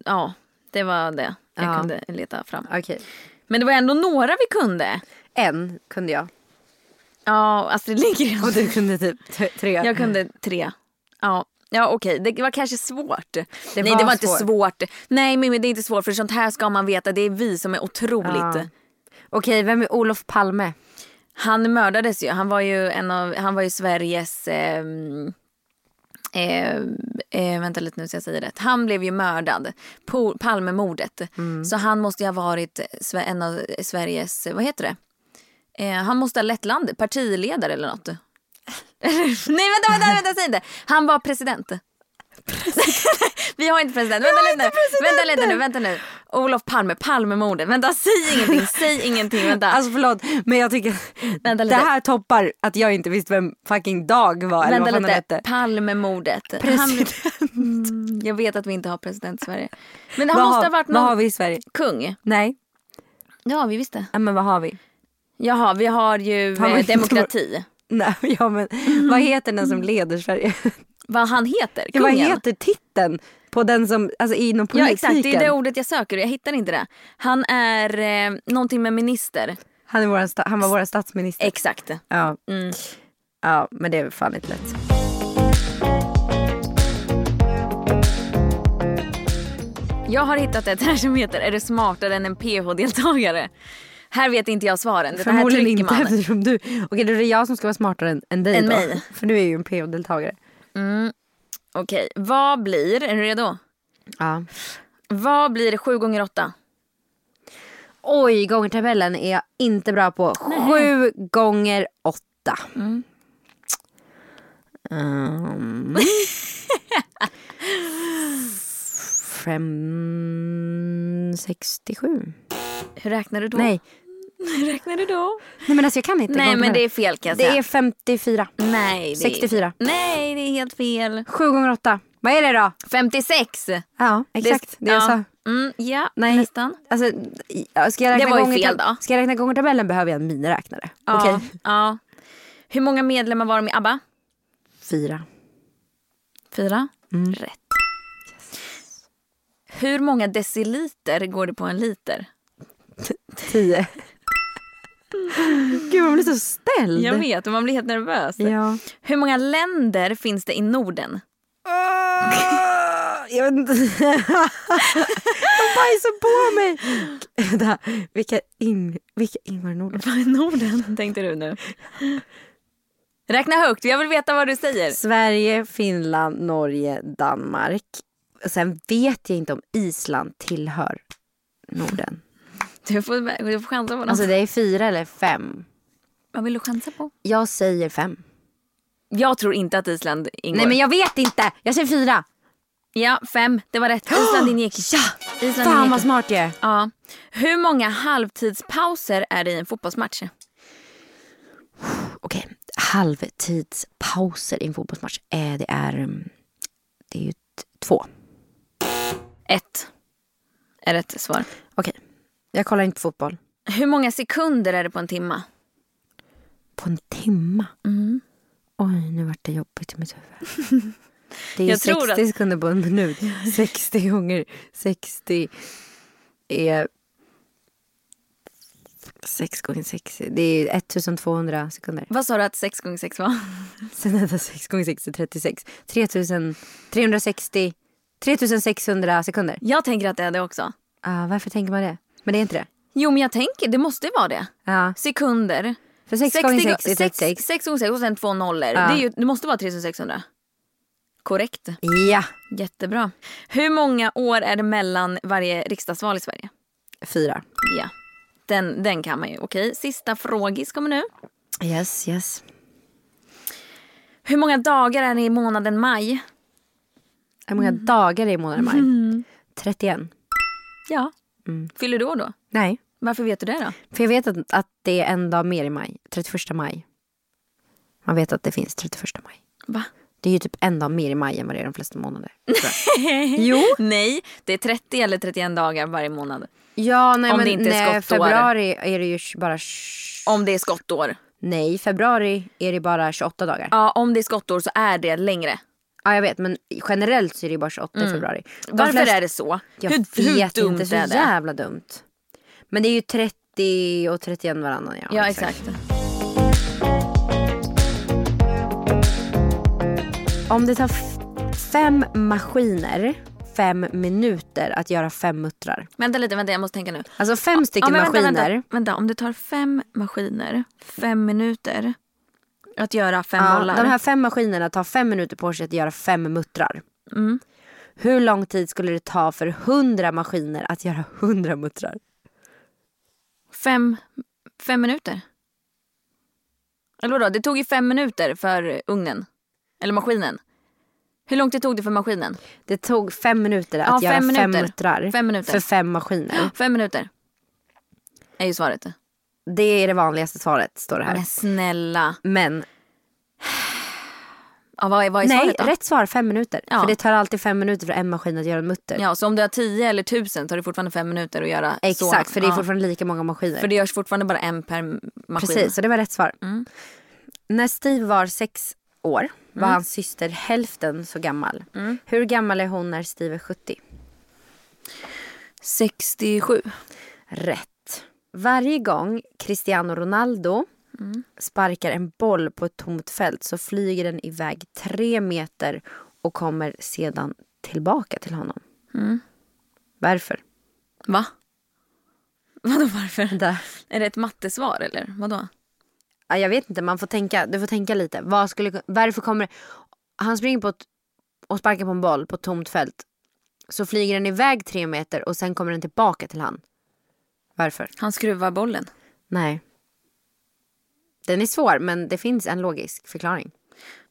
Ja, det var det jag
Ja.
kunde leta fram.
Okej.
Men det var ändå några vi kunde.
En kunde jag.
Ja, alltså Astrid Lindgren.
Och du kunde typ t- tre.
Jag kunde tre. Ja. Ja okej, det var kanske svårt. Nej
var
det var inte
svårt.
svårt. Nej Mimmi det är inte svårt för sånt här ska man veta. Det är vi som är otroligt.
Ja. Okej, vem är Olof Palme?
Han mördades ju. Han var ju, en av, han var ju Sveriges... Eh, eh, eh, vänta lite nu så jag säger rätt. Han blev ju mördad. På Palmemordet. Så han måste ju ha varit Sve- en av Sveriges... Vad heter det? Eh, han måste ha lett landet. Partiledare eller något. Nej vänta, vänta, vänta, säg inte. Han var president. Vi har inte president. Vänta lite nu. Vänta lite nu, vänta nu. Olof Palme, Palmemordet. Vänta, säg ingenting, säg ingenting. Vänta.
Alltså förlåt, men jag tycker
Vänta
det
lite.
här toppar att jag inte visste vem fucking Dag var. eller
Vänta
vad fan han
lite,
hette.
Palmemordet.
President.
Han, mm, jag vet att vi inte har president i Sverige. Men han
Vad
måste
har-
ha varit
Vad har
någon
vi i Sverige?
kung.
Nej,
Det har vi visst det.
ja, men vad har vi?
Jaha, vi har ju
Fan, vad
eh,
jag tror-
demokrati.
Nej, ja, men, Vad heter den som leder Sverige?
Vad han heter,
Ja, vad
kungen.
heter titeln på den som, alltså inom
ja
politiken?
exakt, det är det ordet jag söker och jag hittar inte det. Han är eh, någonting med minister.
han, är våran sta- han var vår statsminister.
Exakt.
ja.
Mm.
ja, men det är fan inte lätt.
Jag har hittat ett här som heter Är du smartare än en PH-deltagare? Här vet inte jag svaren. Det här
Förmodligen
trycker
inte
man.
eftersom du... Okej, då är det jag som ska vara smartare än, än dig
Än
då.
mig.
För du är ju en PO-deltagare.
Okej, vad blir, är du redo?
Ja.
Vad blir 7 gånger 8?
Oj, gångertabellen är jag inte bra på. Sju gånger åtta. Ehm. Fem... 67.
Hur räknar du då?
Nej.
Hur räknar du då?
Nej men alltså jag kan inte.
Nej men
gångertabellen.
det är fel kan jag
det
säga.
är 54.
Nej, det är...
64.
Nej det är helt fel.
Sju gånger åtta. Vad är det då?
56.
Ja, exakt. Det, jag
ja.
sa.
Mm, ja,
Nej.
nästan.
Alltså, ja, ska jag räkna
Det var ju
gånger-
fel då.
Ska jag räkna gångertabellen behöver jag en miniräknare.
Ja,
Okej.
ja. Hur många medlemmar var de i ABBA?
Fyra.
Fyra.
Mm.
Rätt. Hur många deciliter går det på en liter?
Tio. Gud, man blir så ställd.
Jag vet, och man blir helt nervös.
Ja.
Hur många länder finns det i Norden?
Ah, Jag vet inte. De bajsar på mig. Vänta, vilka, in, vilka Ingvar Nordlund?
Vad är Norden? Tänkte du nu. Räkna högt, jag vill veta vad du säger.
Sverige, Finland, Norge, Danmark. Och Sen vet jag inte om Island tillhör Norden.
Du får, du får chansa på något.
Alltså det är fyra eller fem.
vad vill du chansa på?
Jag säger fem.
Jag tror inte att Island ingår.
Nej men jag vet inte! Jag säger fyra.
Ja, fem. Det var rätt. Island ingick. Ja! Island
Fan
ingick.
vad smart jag är.
Ja. Hur många halvtidspauser är det i en fotbollsmatch?
Okej, halvtidspauser i en fotbollsmatch. Eh, det är... mm, Det är ju t- två.
Ett är rätt svar.
Okej, jag kollar inte på fotboll.
Hur många sekunder är det på en timma?
På en timma?
Mm.
Oj, nu vart det jobbigt i mitt huvud. Det är ju
Jag tror
60 sekunder på en minut. 60 gånger 60 är... 6 gånger 60, det är 1200 sekunder.
Vad sa du att sex gånger sex var?
Sen är det 6 gånger 60, 36. 3360, 3600 sekunder.
Jag tänker att det är det också.
Ah, varför tänker man det? Men det är inte det.
Jo, men jag tänker, det måste ju vara det.
Ja.
Sekunder.
För 6 gånger 60 är
6,
36.
gånger 6 och sen två nollor.
Ja.
Det, är ju, det måste vara 3600. Korrekt.
Ja,
Jättebra. Hur många år är det mellan varje riksdagsval i Sverige?
fyra.
Ja, den, den kan man ju. Okej, sista frågis kommer nu.
Yes, yes.
Hur många dagar är det i månaden maj?
Hur många dagar är i månaden maj? 31.
Ja.
Mm.
Fyller du år då?
Nej.
Varför vet du det då?
För jag vet att, att det är en dag mer i maj. 31 maj. Man vet att det finns 31 maj.
Va?
Det är ju typ en dag mer i maj än vad det är de flesta månader. tror jag. jo.
Nej, det är 30 eller 31 dagar varje månad.
Ja, nej
Om det
men
inte är
nej,
skottår.
februari är det ju tj- bara... tj-
Om det är skottår.
Nej, februari är det bara 28 dagar. Ja,
Ja, om det är skottår så är det längre.
jag vet. Men generellt så är det ju bara 28 i februari. De
Varför
flesta-
är det så?
Jag
hur, hur
vet
dumt
inte. Så
är det?
jävla dumt. Men det är ju 30 och 31 varannan. Ja,
Ja, exakt.
Om det tar f- fem maskiner fem minuter att göra fem muttrar.
Vänta lite, vänta, jag måste tänka nu.
Alltså fem stycken
men
maskiner.
Vänta, vänta, vänta, om du tar fem maskiner, fem minuter att göra fem
Ja,
bollar.
de här fem maskinerna tar fem minuter på sig att göra fem muttrar.
Mm.
Hur lång tid skulle det ta för hundra maskiner att göra hundra muttrar?
Fem, fem minuter? Eller vadå, det tog ju fem minuter för ugnen. Eller maskinen. Hur långt det tog det för maskinen?
Det tog fem minuter att
Ja,
göra
fem
fem
minuter.
muttrar
Fem minuter.
för fem maskiner.
Fem minuter. Är ju svaret.
Det är det vanligaste svaret, står det här.
Men snälla.
Men
Ja, vad är, vad är
nej,
svaret då?
rätt svar fem minuter.
Ja.
För det tar alltid fem minuter för en maskin att göra en mutter.
Ja, så om du har tio eller tusen tar det fortfarande fem minuter att göra så.
Exakt, för det är
Ja.
fortfarande lika många maskiner.
För det görs fortfarande bara en per maskin.
Precis, så det var rätt svar.
Mm.
När Steve var sex år var
Mm.
hans syster hälften så gammal. Hur gammal är hon när Steve är 70?
67.
Rätt. Varje gång Cristiano Ronaldo
Mm.
sparkar en boll på ett tomt fält så flyger den iväg tre meter och kommer sedan tillbaka till honom.
Mm.
Varför?
Va? Vadå varför?
Där.
Är det ett mattesvar eller? Vadå?
Ja, Jag vet inte, man får tänka, du får tänka lite. Vad skulle, varför kommer Han springer på ett, och sparkar på en boll på ett tomt fält. Så flyger den iväg tre meter och sen kommer den tillbaka till han. Varför?
Han skruvar bollen.
Nej. Den är svår, men det finns en logisk förklaring.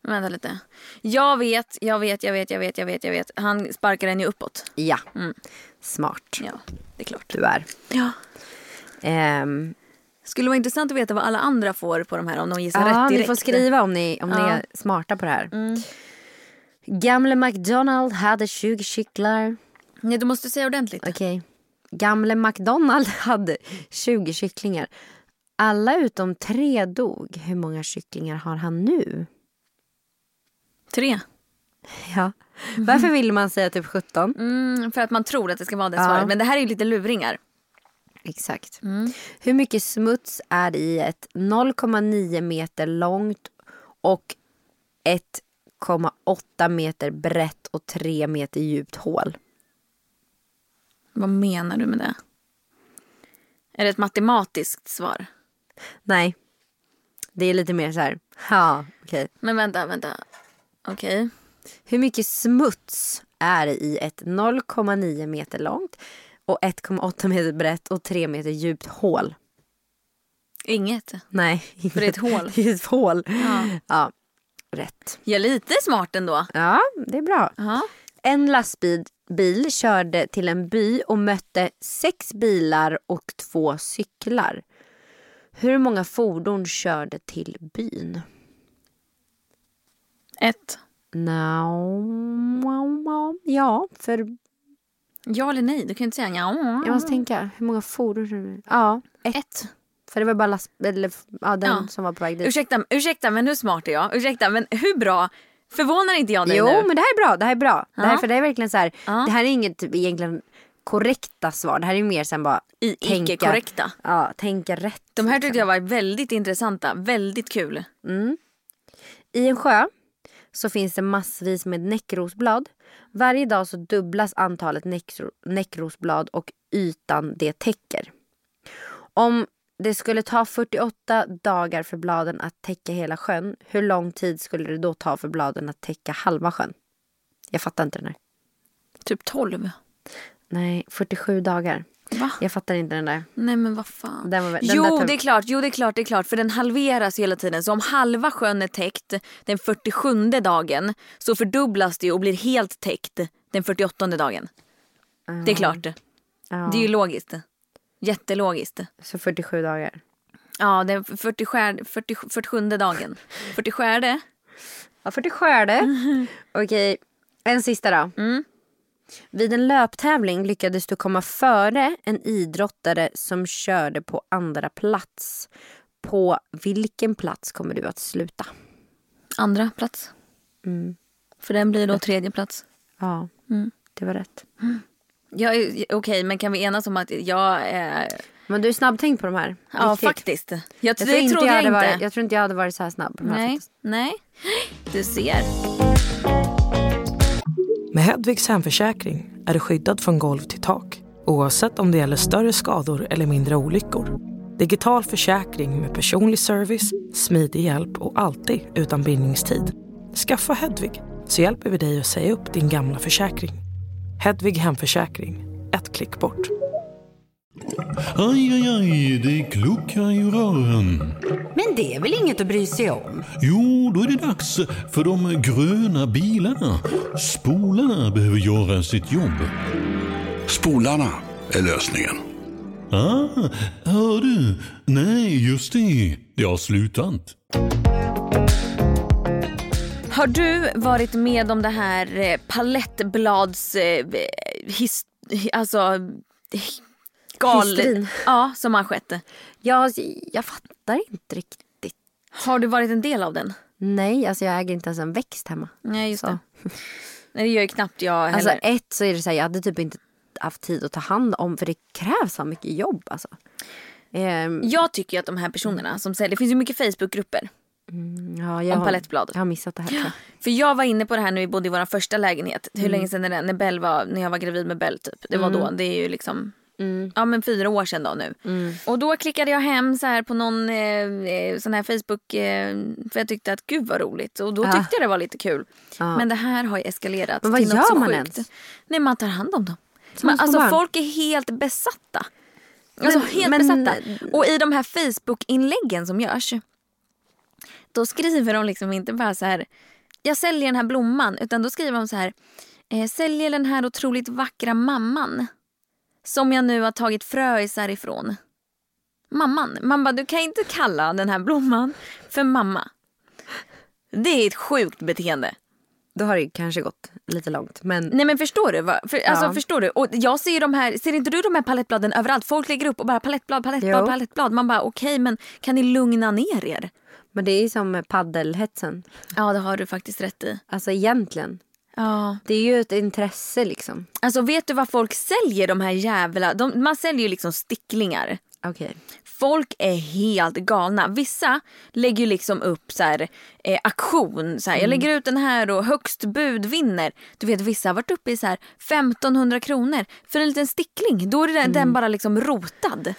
Men Vänta lite. Jag vet, jag vet, jag vet, jag vet, jag vet, jag vet. Han sparkar den ju uppåt.
Ja. Smart.
Ja, det är klart.
Du är.
Ja.
Ehm,
Skulle vara intressant att veta vad alla andra får på de här om de gissar
ja,
rätt direkt.
ni får skriva om ni, om ni
Ja.
är smarta på det här. Gamle McDonald hade 20 kycklar.
Nej, du måste säga ordentligt.
Okej. Gamle McDonald hade 20 kycklingar. Alla utom tre dog. Hur många kycklingar har han nu?
Tre.
Ja. Varför ville man säga typ 17?
Mm, för att man tror att det ska vara det
Ja.
svaret. Men det här är ju lite luringar.
Exakt. Hur mycket smuts är det i ett 0,9 meter långt och 1,8 meter brett och 3 meter djupt hål?
Vad menar du med det? Är det ett matematiskt svar?
Nej. Det är lite mer så här. Ja, okej.
Men vänta, vänta. Okej.
Hur mycket smuts är det i ett 0,9 meter långt och 1,8 meter brett och 3 meter djupt hål?
Inget.
Nej, inte.
det är ett hål.
Det är ett hål. Ja. rätt.
Jag är lite smart ändå.
Ja, det är bra.
Ja.
En lastbil bil körde till en by och mötte sex bilar och två cyklar. Hur många fordon körde till byn?
Ett.
No, Ja, för
Ja eller nej? Du kan inte säga ja.
jag måste tänka. Hur många fordon körde Ja, ett. För det var bara last, eller, ja, den
Ja.
som var på väg dit.
Ursäkta, ursäkta men hur smart är jag? Ursäkta men hur bra? Förvånar inte jag dig
Jo,
nu?
men det här är bra. Det här är bra. Det, här,
Ja.
för det här är verkligen så här,
Ja.
det här är inget typ, egentligen korrekta svar. Det här är mer sen bara
I
tänka-
icke-korrekta.
Ja, tänka rätt.
De här tyckte jag var väldigt intressanta. Väldigt kul.
I en sjö så finns det massvis med näckrosblad. Varje dag så dubblas antalet näckro- näckrosblad och ytan det täcker. Om det skulle ta 48 dagar för bladen att täcka hela sjön, hur lång tid skulle det då ta för bladen att täcka halva sjön? Jag fattar inte den här.
Typ 12.
Nej, 47 dagar.
Va?
Jag fattar inte den där.
Nej men vad fan.
Den var, den
jo,
där tar-
det är klart, jo det är klart, det är klart. För den halveras ju hela tiden. Så om halva sjön är täckt den 47 dagen så fördubblas det ju och blir helt täckt den 48 dagen. Det är klart.
Ja,
Det är ju logiskt. Jättelogiskt.
Så 47 dagar.
Ja, den 47, 40, 47 dagen. 47?
Ja, 47 är det. Mm. Okej, en sista då. Vid en löptävling lyckades du komma före en idrottare som körde på andra plats. På vilken plats kommer du att sluta?
Andra plats.
Mm.
För den blir då tredje plats.
Ja,
Mm.
det var rätt.
Jag är- eh, Okej, men kan vi enas om att jag är...
Men du är snabbtänkt på de här.
Ja,
Riktigt.
faktiskt. Jag, det
Jag tror, inte
trodde
jag,
jag
hade
inte.
Varit, jag tror inte jag hade varit så här snabb. På de här
nej,
faktiskt.
nej. Du ser.
Med Hedvigs hemförsäkring är du skyddad från golv till tak oavsett om det gäller större skador eller mindre olyckor. Digital försäkring med personlig service, smidig hjälp och alltid utan bindningstid. Skaffa Hedvig så hjälper vi dig att säga upp din gamla försäkring. Hedvig hemförsäkring, ett klick bort.
Aj, aj, aj, det kluckar i rören.
Men det är väl inget att bry sig om?
Jo, då är det dags för de gröna bilarna. Spolarna behöver göra sitt jobb.
Spolarna är lösningen.
Ah, hör du? Nej, just det. Jag har slutat.
Har du varit med om det här eh, palettblads... Eh, his, alltså... eh, Gal,
Hysterin.
Ja, som har skett.
Jag, alltså, jag fattar inte riktigt.
Har du varit en del av den?
Nej, alltså jag äger inte ens en växt hemma.
Nej, just
Så.
det. Nej, det gör ju knappt jag heller.
Alltså ett så är det så här, jag hade typ inte haft tid att ta hand om för det krävs så mycket jobb alltså. Ehm,
Jag tycker ju att de här
Mm.
personerna som säljer, det finns ju mycket Facebookgrupper.
ja, jag,
om
har-
palettbladet.
Jag har missat det här tror jag.
För jag var inne på det här när vi bodde i vår första lägenhet.
Mm.
Hur länge sedan är det? När, Bell var, när jag var gravid med Bell typ. Det var då, det är ju liksom
Mm.
Ja men fyra år sedan då nu. Och då klickade jag hem så här på någon eh, eh, sån här Facebook eh, för jag tyckte att gud vad roligt och då
Ja.
tyckte jag det var lite kul.
Ja.
Men det här har ju eskalerat
Ah. Men vad
till något
gör
så
man
sjukt.
ens?
Nej man tar hand om dem.
Som
Men,
små
alltså
barn.
folk är helt besatta. Alltså
Men-
helt
men-
besatta. Och i de här Facebook-inläggen som görs. Då skriver de liksom inte bara så här. Jag säljer den här blomman. Utan då skriver de så här. eh, Säljer den här otroligt vackra mamman. Som jag nu har tagit fröisar ifrån. Mamman. Man bara, du kan inte kalla den här blomman för mamma. Det är ett sjukt beteende.
Då har det kanske gått lite långt men
Nej men förstår du? vad- För, alltså,
Ja.
förstår du? Och jag ser ju de här, ser inte du de här palettbladen överallt? Folk lägger upp och bara palettblad, palettblad,
Jo.
palettblad. Man bara okej men kan ni lugna ner er?
men det är ju som med paddelhetsen.
Ja det har du faktiskt rätt i.
Alltså egentligen.
Ja.
Det är ju ett intresse liksom.
Alltså vet du vad folk säljer de här jävla, de, man säljer ju liksom sticklingar.
Okej.
Folk är helt galna. Vissa lägger ju liksom upp så här, eh, aktion. Så här, Jag lägger ut den här och högst bud vinner. Du vet vissa har varit uppe i så här 1500 kronor för en liten stickling. Då är den, den bara liksom rotad.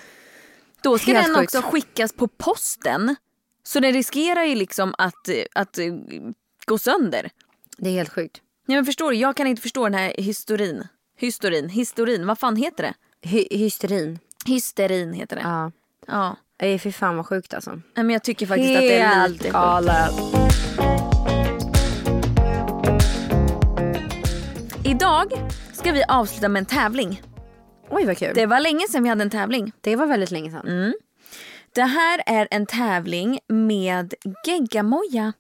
Då ska
Helt
den
sjukt.
också skickas på posten. Så den riskerar ju liksom att, eh, att eh, gå sönder.
Det är helt sjukt.
Nej men förstår du, jag kan inte förstå den här historin. Historin, historin, vad fan heter det?
Hy- hysterin.
Hysterin heter det.
Ja.
ja.
Ej, fy fan vad sjukt alltså.
Nej, men jag tycker faktiskt att det är lite sjukt.
galet.
Idag ska vi avsluta med en tävling.
Oj vad kul. Det, Mm.
Det var länge sedan vi hade en tävling.
var väldigt länge sedan.
Det här är en tävling med geggamoja.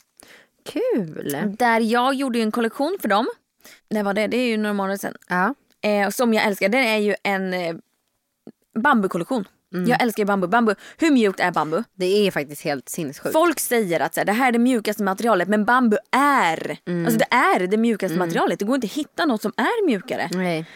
Kul!
Där jag gjorde ju en kollektion för dem. När var det? Det är ju några månader sedan.
Ja.
Eh, och som jag älskar, den är ju en eh, bambukollektion. Jag älskar ju bambu. bambu. Hur mjukt är bambu?
Det är faktiskt helt sinnessjukt.
Folk säger att så här, det här är det mjukaste materialet men bambu är alltså det är det mjukaste materialet. Det går inte att hitta något som är mjukare.
Nej.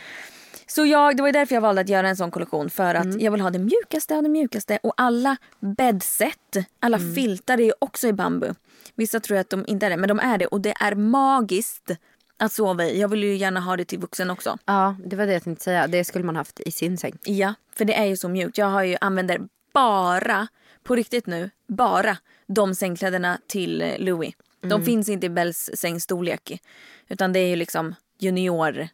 Så jag, det var ju därför jag valde att göra en sån kollektion för att jag vill ha det mjukaste av det mjukaste och alla bäddset, alla filtar är ju också i bambu. Vissa tror att de inte är det men de är det och det är magiskt att sova i. Jag vill ju gärna ha det till vuxen också.
Ja, det var det jag tänkte säga. Det skulle man haft i sin säng.
Ja, för det är ju så mjukt. Jag har ju använder bara, på riktigt nu, bara de sängkläderna till eh, Louis. De finns inte i Bells sängstorlek. Utan det är ju liksom junior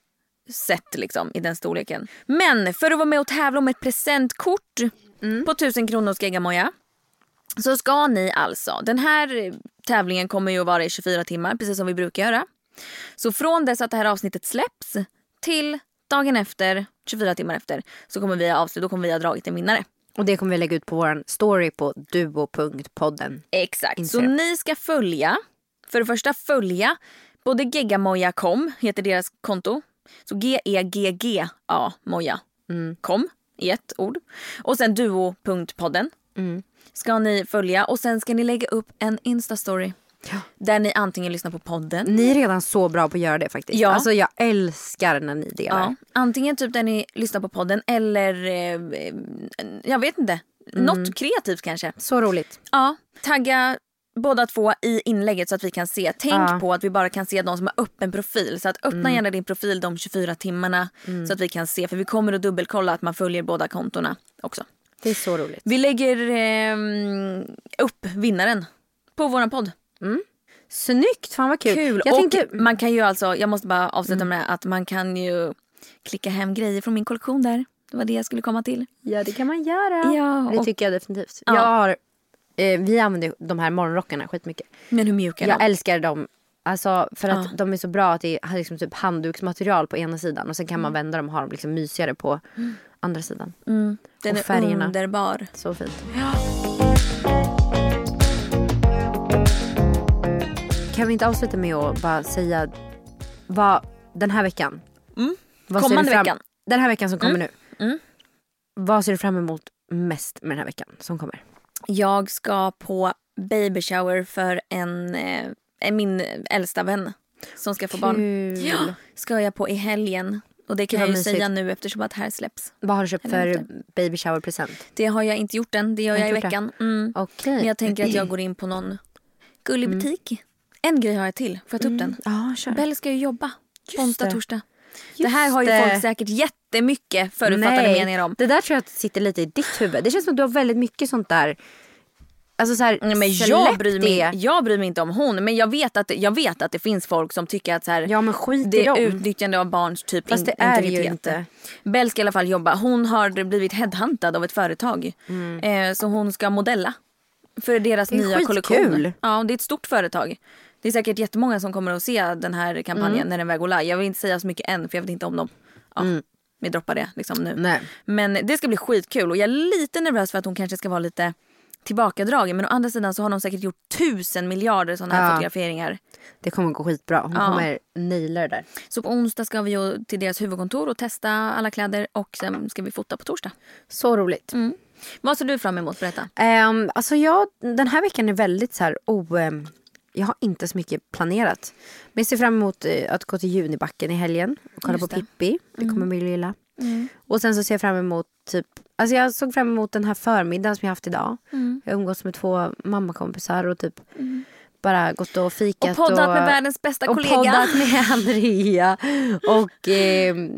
sett liksom i den storleken. Men för att vara med och tävla om ett presentkort på 1000 kronor hos Geggamoja så ska ni alltså, den här eh, tävlingen kommer ju att vara i 24 timmar precis som vi brukar göra. Så från dess att det här avsnittet släpps till dagen efter, 24 timmar efter, så kommer vi att avsluta, då kommer vi att ha dragit en vinnare.
Och det kommer vi lägga ut på vår story på duo.podden.
Exakt. Så
Instagram.
ni ska följa, för det första följa, både geggamoja.com heter deras konto. Så E G-E-G-G-A moja kom i ett ord. Och sen duo.podden ska ni följa och sen ska ni lägga upp en instastory. Där ni antingen lyssnar på podden
Ni är redan så bra på att göra det faktiskt.
Ja.
Alltså jag älskar när ni delar.
Ja, antingen typ där ni lyssnar på podden eller eh, eh, jag vet inte. Något kreativt kanske.
Så roligt.
Ja, tagga båda två i inlägget så att vi kan se. Tänk
Ja. Mm.
på att vi bara kan se de som har öppen profil. Så att öppna gärna din profil de 24 timmarna så att vi kan se. För vi kommer att dubbelkolla att man följer båda kontona också.
Det är så roligt.
Vi lägger eh, upp vinnaren på våran podd.
Snyggt, fan vad kul.
Kul!
Jag Mm.
och
tänkte,
man kan ju alltså, jag måste bara avsluta med att man kan ju klicka hem grejer från min kollektion där. Det var det jag skulle komma till.
ja det kan man göra.
Ja,
det
och-
tycker jag definitivt.
Ja.
Jag har, eh, vi använder ju de här morgonrockarna skitmycket.
Men hur mjuk är
Jag
de?
älskar dem. Alltså för att
Ja.
de är så bra att det är liksom typ handduksmaterial på ena sidan och sen kan man vända dem och ha dem liksom mysigare på andra sidan.
Den
och
är
färgerna.
underbar.
Så fint. Kan vi inte avsluta med att bara säga vad den här veckan. Vad ser
Mm. Kommande
du fram,
veckan.
Den här veckan som kommer nu.
Mm.
Vad ser du fram emot mest med den här veckan som kommer?
Jag ska på baby shower för en, eh, en- min äldsta vän som ska få barn.
Kul.
Ja, ska jag på i helgen. Och det kan
Gud, vad
jag ju
mysigt.
säga nu eftersom att här släpps.
Vad har du köpt
Jag vet
för baby shower present?
Det har jag inte gjort än. Det gör
Har
jag i
inte gjort Mm. det?
veckan. Mm.
Okej.
Men jag tänker att jag går in på någon gullig
Mm.
butik. En grej har jag till. Får jag ta upp den?
Ja, kör.
Bell ska ju jobba på onsdag,
Mm. det.
torsdag. det här har ju
det.
folk säkert jättemycket förutfattade
Nej,
meningar om.
Det där tror jag att sitter lite i ditt huvud. Det känns som att du har väldigt mycket sånt där. Alltså så här,
Nej, men
släpp
jag, bryr mig, jag bryr mig inte om hon, men jag vet att, jag vet att det finns folk som tycker att så här,
Ja men skit i
det är
dem.
utnyttjande av barns typ
Fast det
in-
är det ju
integritet.
inte.
Bell ska i alla fall jobba. Hon har blivit headhuntad av ett företag. Eh, så hon ska modella. För deras
Mm. Det
nya
är skitkul.
kollektion. Ja, det är ett stort företag. Det är säkert jättemånga som kommer att se den här kampanjen
Mm.
när den väl går live. Jag vill inte säga så mycket än för jag vet inte om de... Ja, Vi droppar det liksom nu.
Nej.
Men det ska bli skitkul och jag är lite nervös för att hon kanske ska vara lite tillbakadragen. Men å andra sidan så har de säkert gjort tusen miljarder sådana här
Ja.
fotograferingar.
Det kommer gå skitbra. Hon
Ja.
kommer naila det där.
Så på onsdag ska vi ju till deras huvudkontor och testa alla kläder och sen ska vi fota på torsdag.
Så roligt.
Vad ser du fram emot? Berätta.
Mm. Ehm, alltså jag, den här veckan är väldigt så här o... ehm, jag har inte så mycket planerat. Men jag ser fram emot eh, att gå till Junibacken i helgen och kolla
Just
på
det. Mm.
Pippi. Det kommer bli lilla. Och sen så ser jag fram emot typ... Alltså jag såg fram emot den här förmiddagen som jag haft idag.
Mm.
Jag har umgåtts med två mammakompisar och typ bara gått och fikat.
Och poddat med världens bästa
och
kollega.
poddat med Andrea. Och ehm,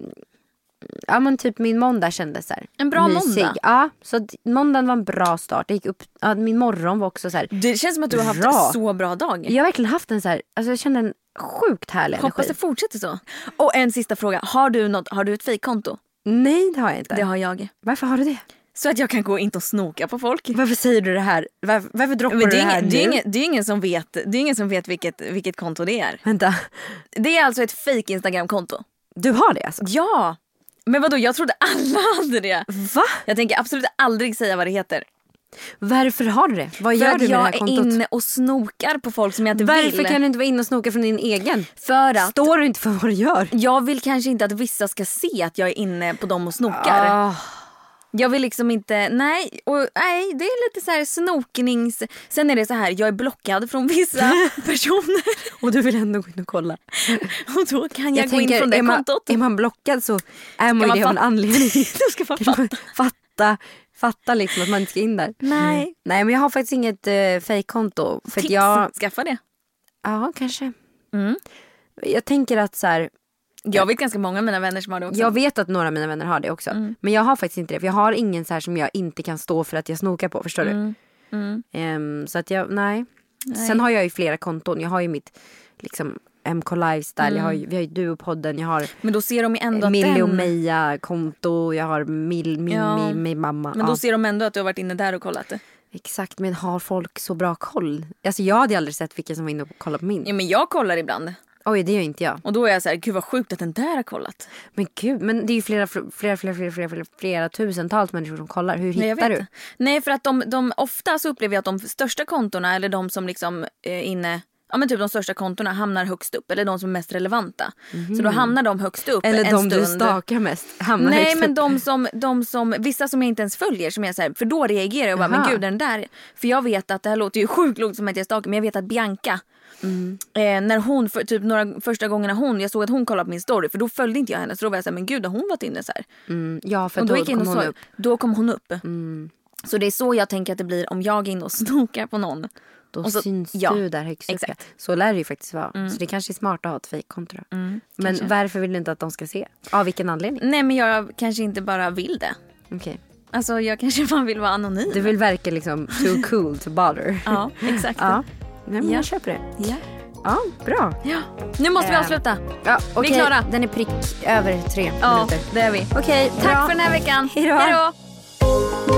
ja, men typ min måndag kändes så här.
En bra måndag.
Ja, så att måndagen var en bra start. Jag gick upp, ja, min morgon var också så här.
Det känns som att du har haft
Bra.
så bra dag.
Jag har verkligen haft en så här, alltså jag kände en sjukt härlig
Hoppas det
energi.
fortsätter så. Och en sista fråga. Har du, något, har du ett fejkkonto?
Nej det har jag inte.
Det har jag.
Varför har du det?
Så att jag kan gå in och snoka på folk.
Varför säger du det här? Varför, varför droppar
Men
du
det,
det
är
här
ingen, det, är
nu?
ingen, det är ingen som vet, det är ingen som vet vilket, vilket konto det är.
Vänta,
Det är alltså ett fake Instagram-konto.
du har det alltså?
Ja! Men vadå, jag trodde alla hade det.
Va?
Jag tänker absolut aldrig säga vad det heter.
Varför har du det? Vad
För
gör
att
du med det
jag
här
är
kontot?
inne och snokar på folk som jag inte
Varför
vill.
kan du inte vara inne och snoka från din egen?
För att
Står du inte för vad du gör?
jag vill kanske inte att vissa ska se att jag är inne på dem och snokar.
Ah.
Jag vill liksom inte, nej, och, nej det är lite så här snoknings... Sen är det så här, jag är blockad från vissa personer
Och du vill ändå gå in och kolla.
och då kan jag, gå in från det
är, man,
kontot.
är man blockad så är man ju
man
det av en
fatta?
anledning.
Då ska man
Kan man fatta, fatta liksom att man inte ska in där. Mm.
Nej.
Nej men jag har faktiskt inget eh, fejkkonto. För att
Tips,
jag,
skaffa det.
ja kanske.
Mm.
Jag tänker att så här,
Jag vet ganska många av mina vänner som har det också.
jag vet att några av mina vänner har det också. Men jag har faktiskt inte det. För jag har ingen så här som jag inte kan stå för att jag snokar på. Förstår du? Ehm, så att jag, nej. Sen har jag ju flera konton. Jag har ju mitt liksom MK Lifestyle, jag har ju, vi har ju Duopodden, jag har
Men då ser de ju ändå att
Millie och
den...
Meja-konto, jag har Mill, Mimmi,
Ja.
min mamma.
Men då
ja.
ser de ändå att du har varit inne där och kollat det.
Exakt, men har folk så bra koll? Alltså jag hade aldrig sett vilka som var inne och kollade på min.
Ja, men jag kollar ibland.
Oj, det gör inte jag.
Och då är jag så här, gud vad sjukt att den där har kollat.
Men gud, men det är ju flera, flera, flera, flera, flera, flera, flera tusentals människor som kollar. Hur
Nej, jag
hittar
vet
du?
inte. Nej, för att de, de ofta så upplever jag att de största kontorna eller de som liksom eh, inne Ja men typ de största kontorna hamnar högst upp eller de som är mest relevanta. Så då hamnar Mm. de högst upp
Eller
en
de
stund.
du stakar mest hamnar typ-
Nej
högst
men
upp.
de som, de som, vissa som jag inte ens följer som jag säger, för då reagerar jag och bara
Aha.
men gud den där. För jag vet att det här låter ju sjukt lågt som att jag stalkar men jag vet att Bianca
Mm.
eh, när hon, för, typ några första gångerna hon, jag såg att hon kollade på min story för då följde inte jag henne så då var jag såhär men gud har hon varit inne så här?
Mm, ja, för
Och då
då, då
gick jag in
kom
och
hon
såg,
upp. Mm.
då kom hon upp. Så det är så jag tänker att det blir om jag är inne och snokar på någon.
Då
och så-
syns
ja,
du där högst upp.
exakt. Mm.
ja. Så lär det ju faktiskt vara. Så det kanske är smart att ha ett fejkkonto då. Men varför vill du inte att de ska se? Av vilken anledning?
Nej men jag kanske inte bara vill det.
Okej.
Alltså jag kanske bara vill vara anonym.
Du vill verka liksom too cool to bother.
Ja exakt.
ja. Nej, men
Ja.
jag köper det.
Ja.
Ja, bra.
Ja. Nu måste vi
Eh,
avsluta.
Ja,
Vi är klara.
Den är prick över tre
Ja,
minuter.
det är vi.
Okej,
Tack
bra.
för den här veckan.
Hej då.
då.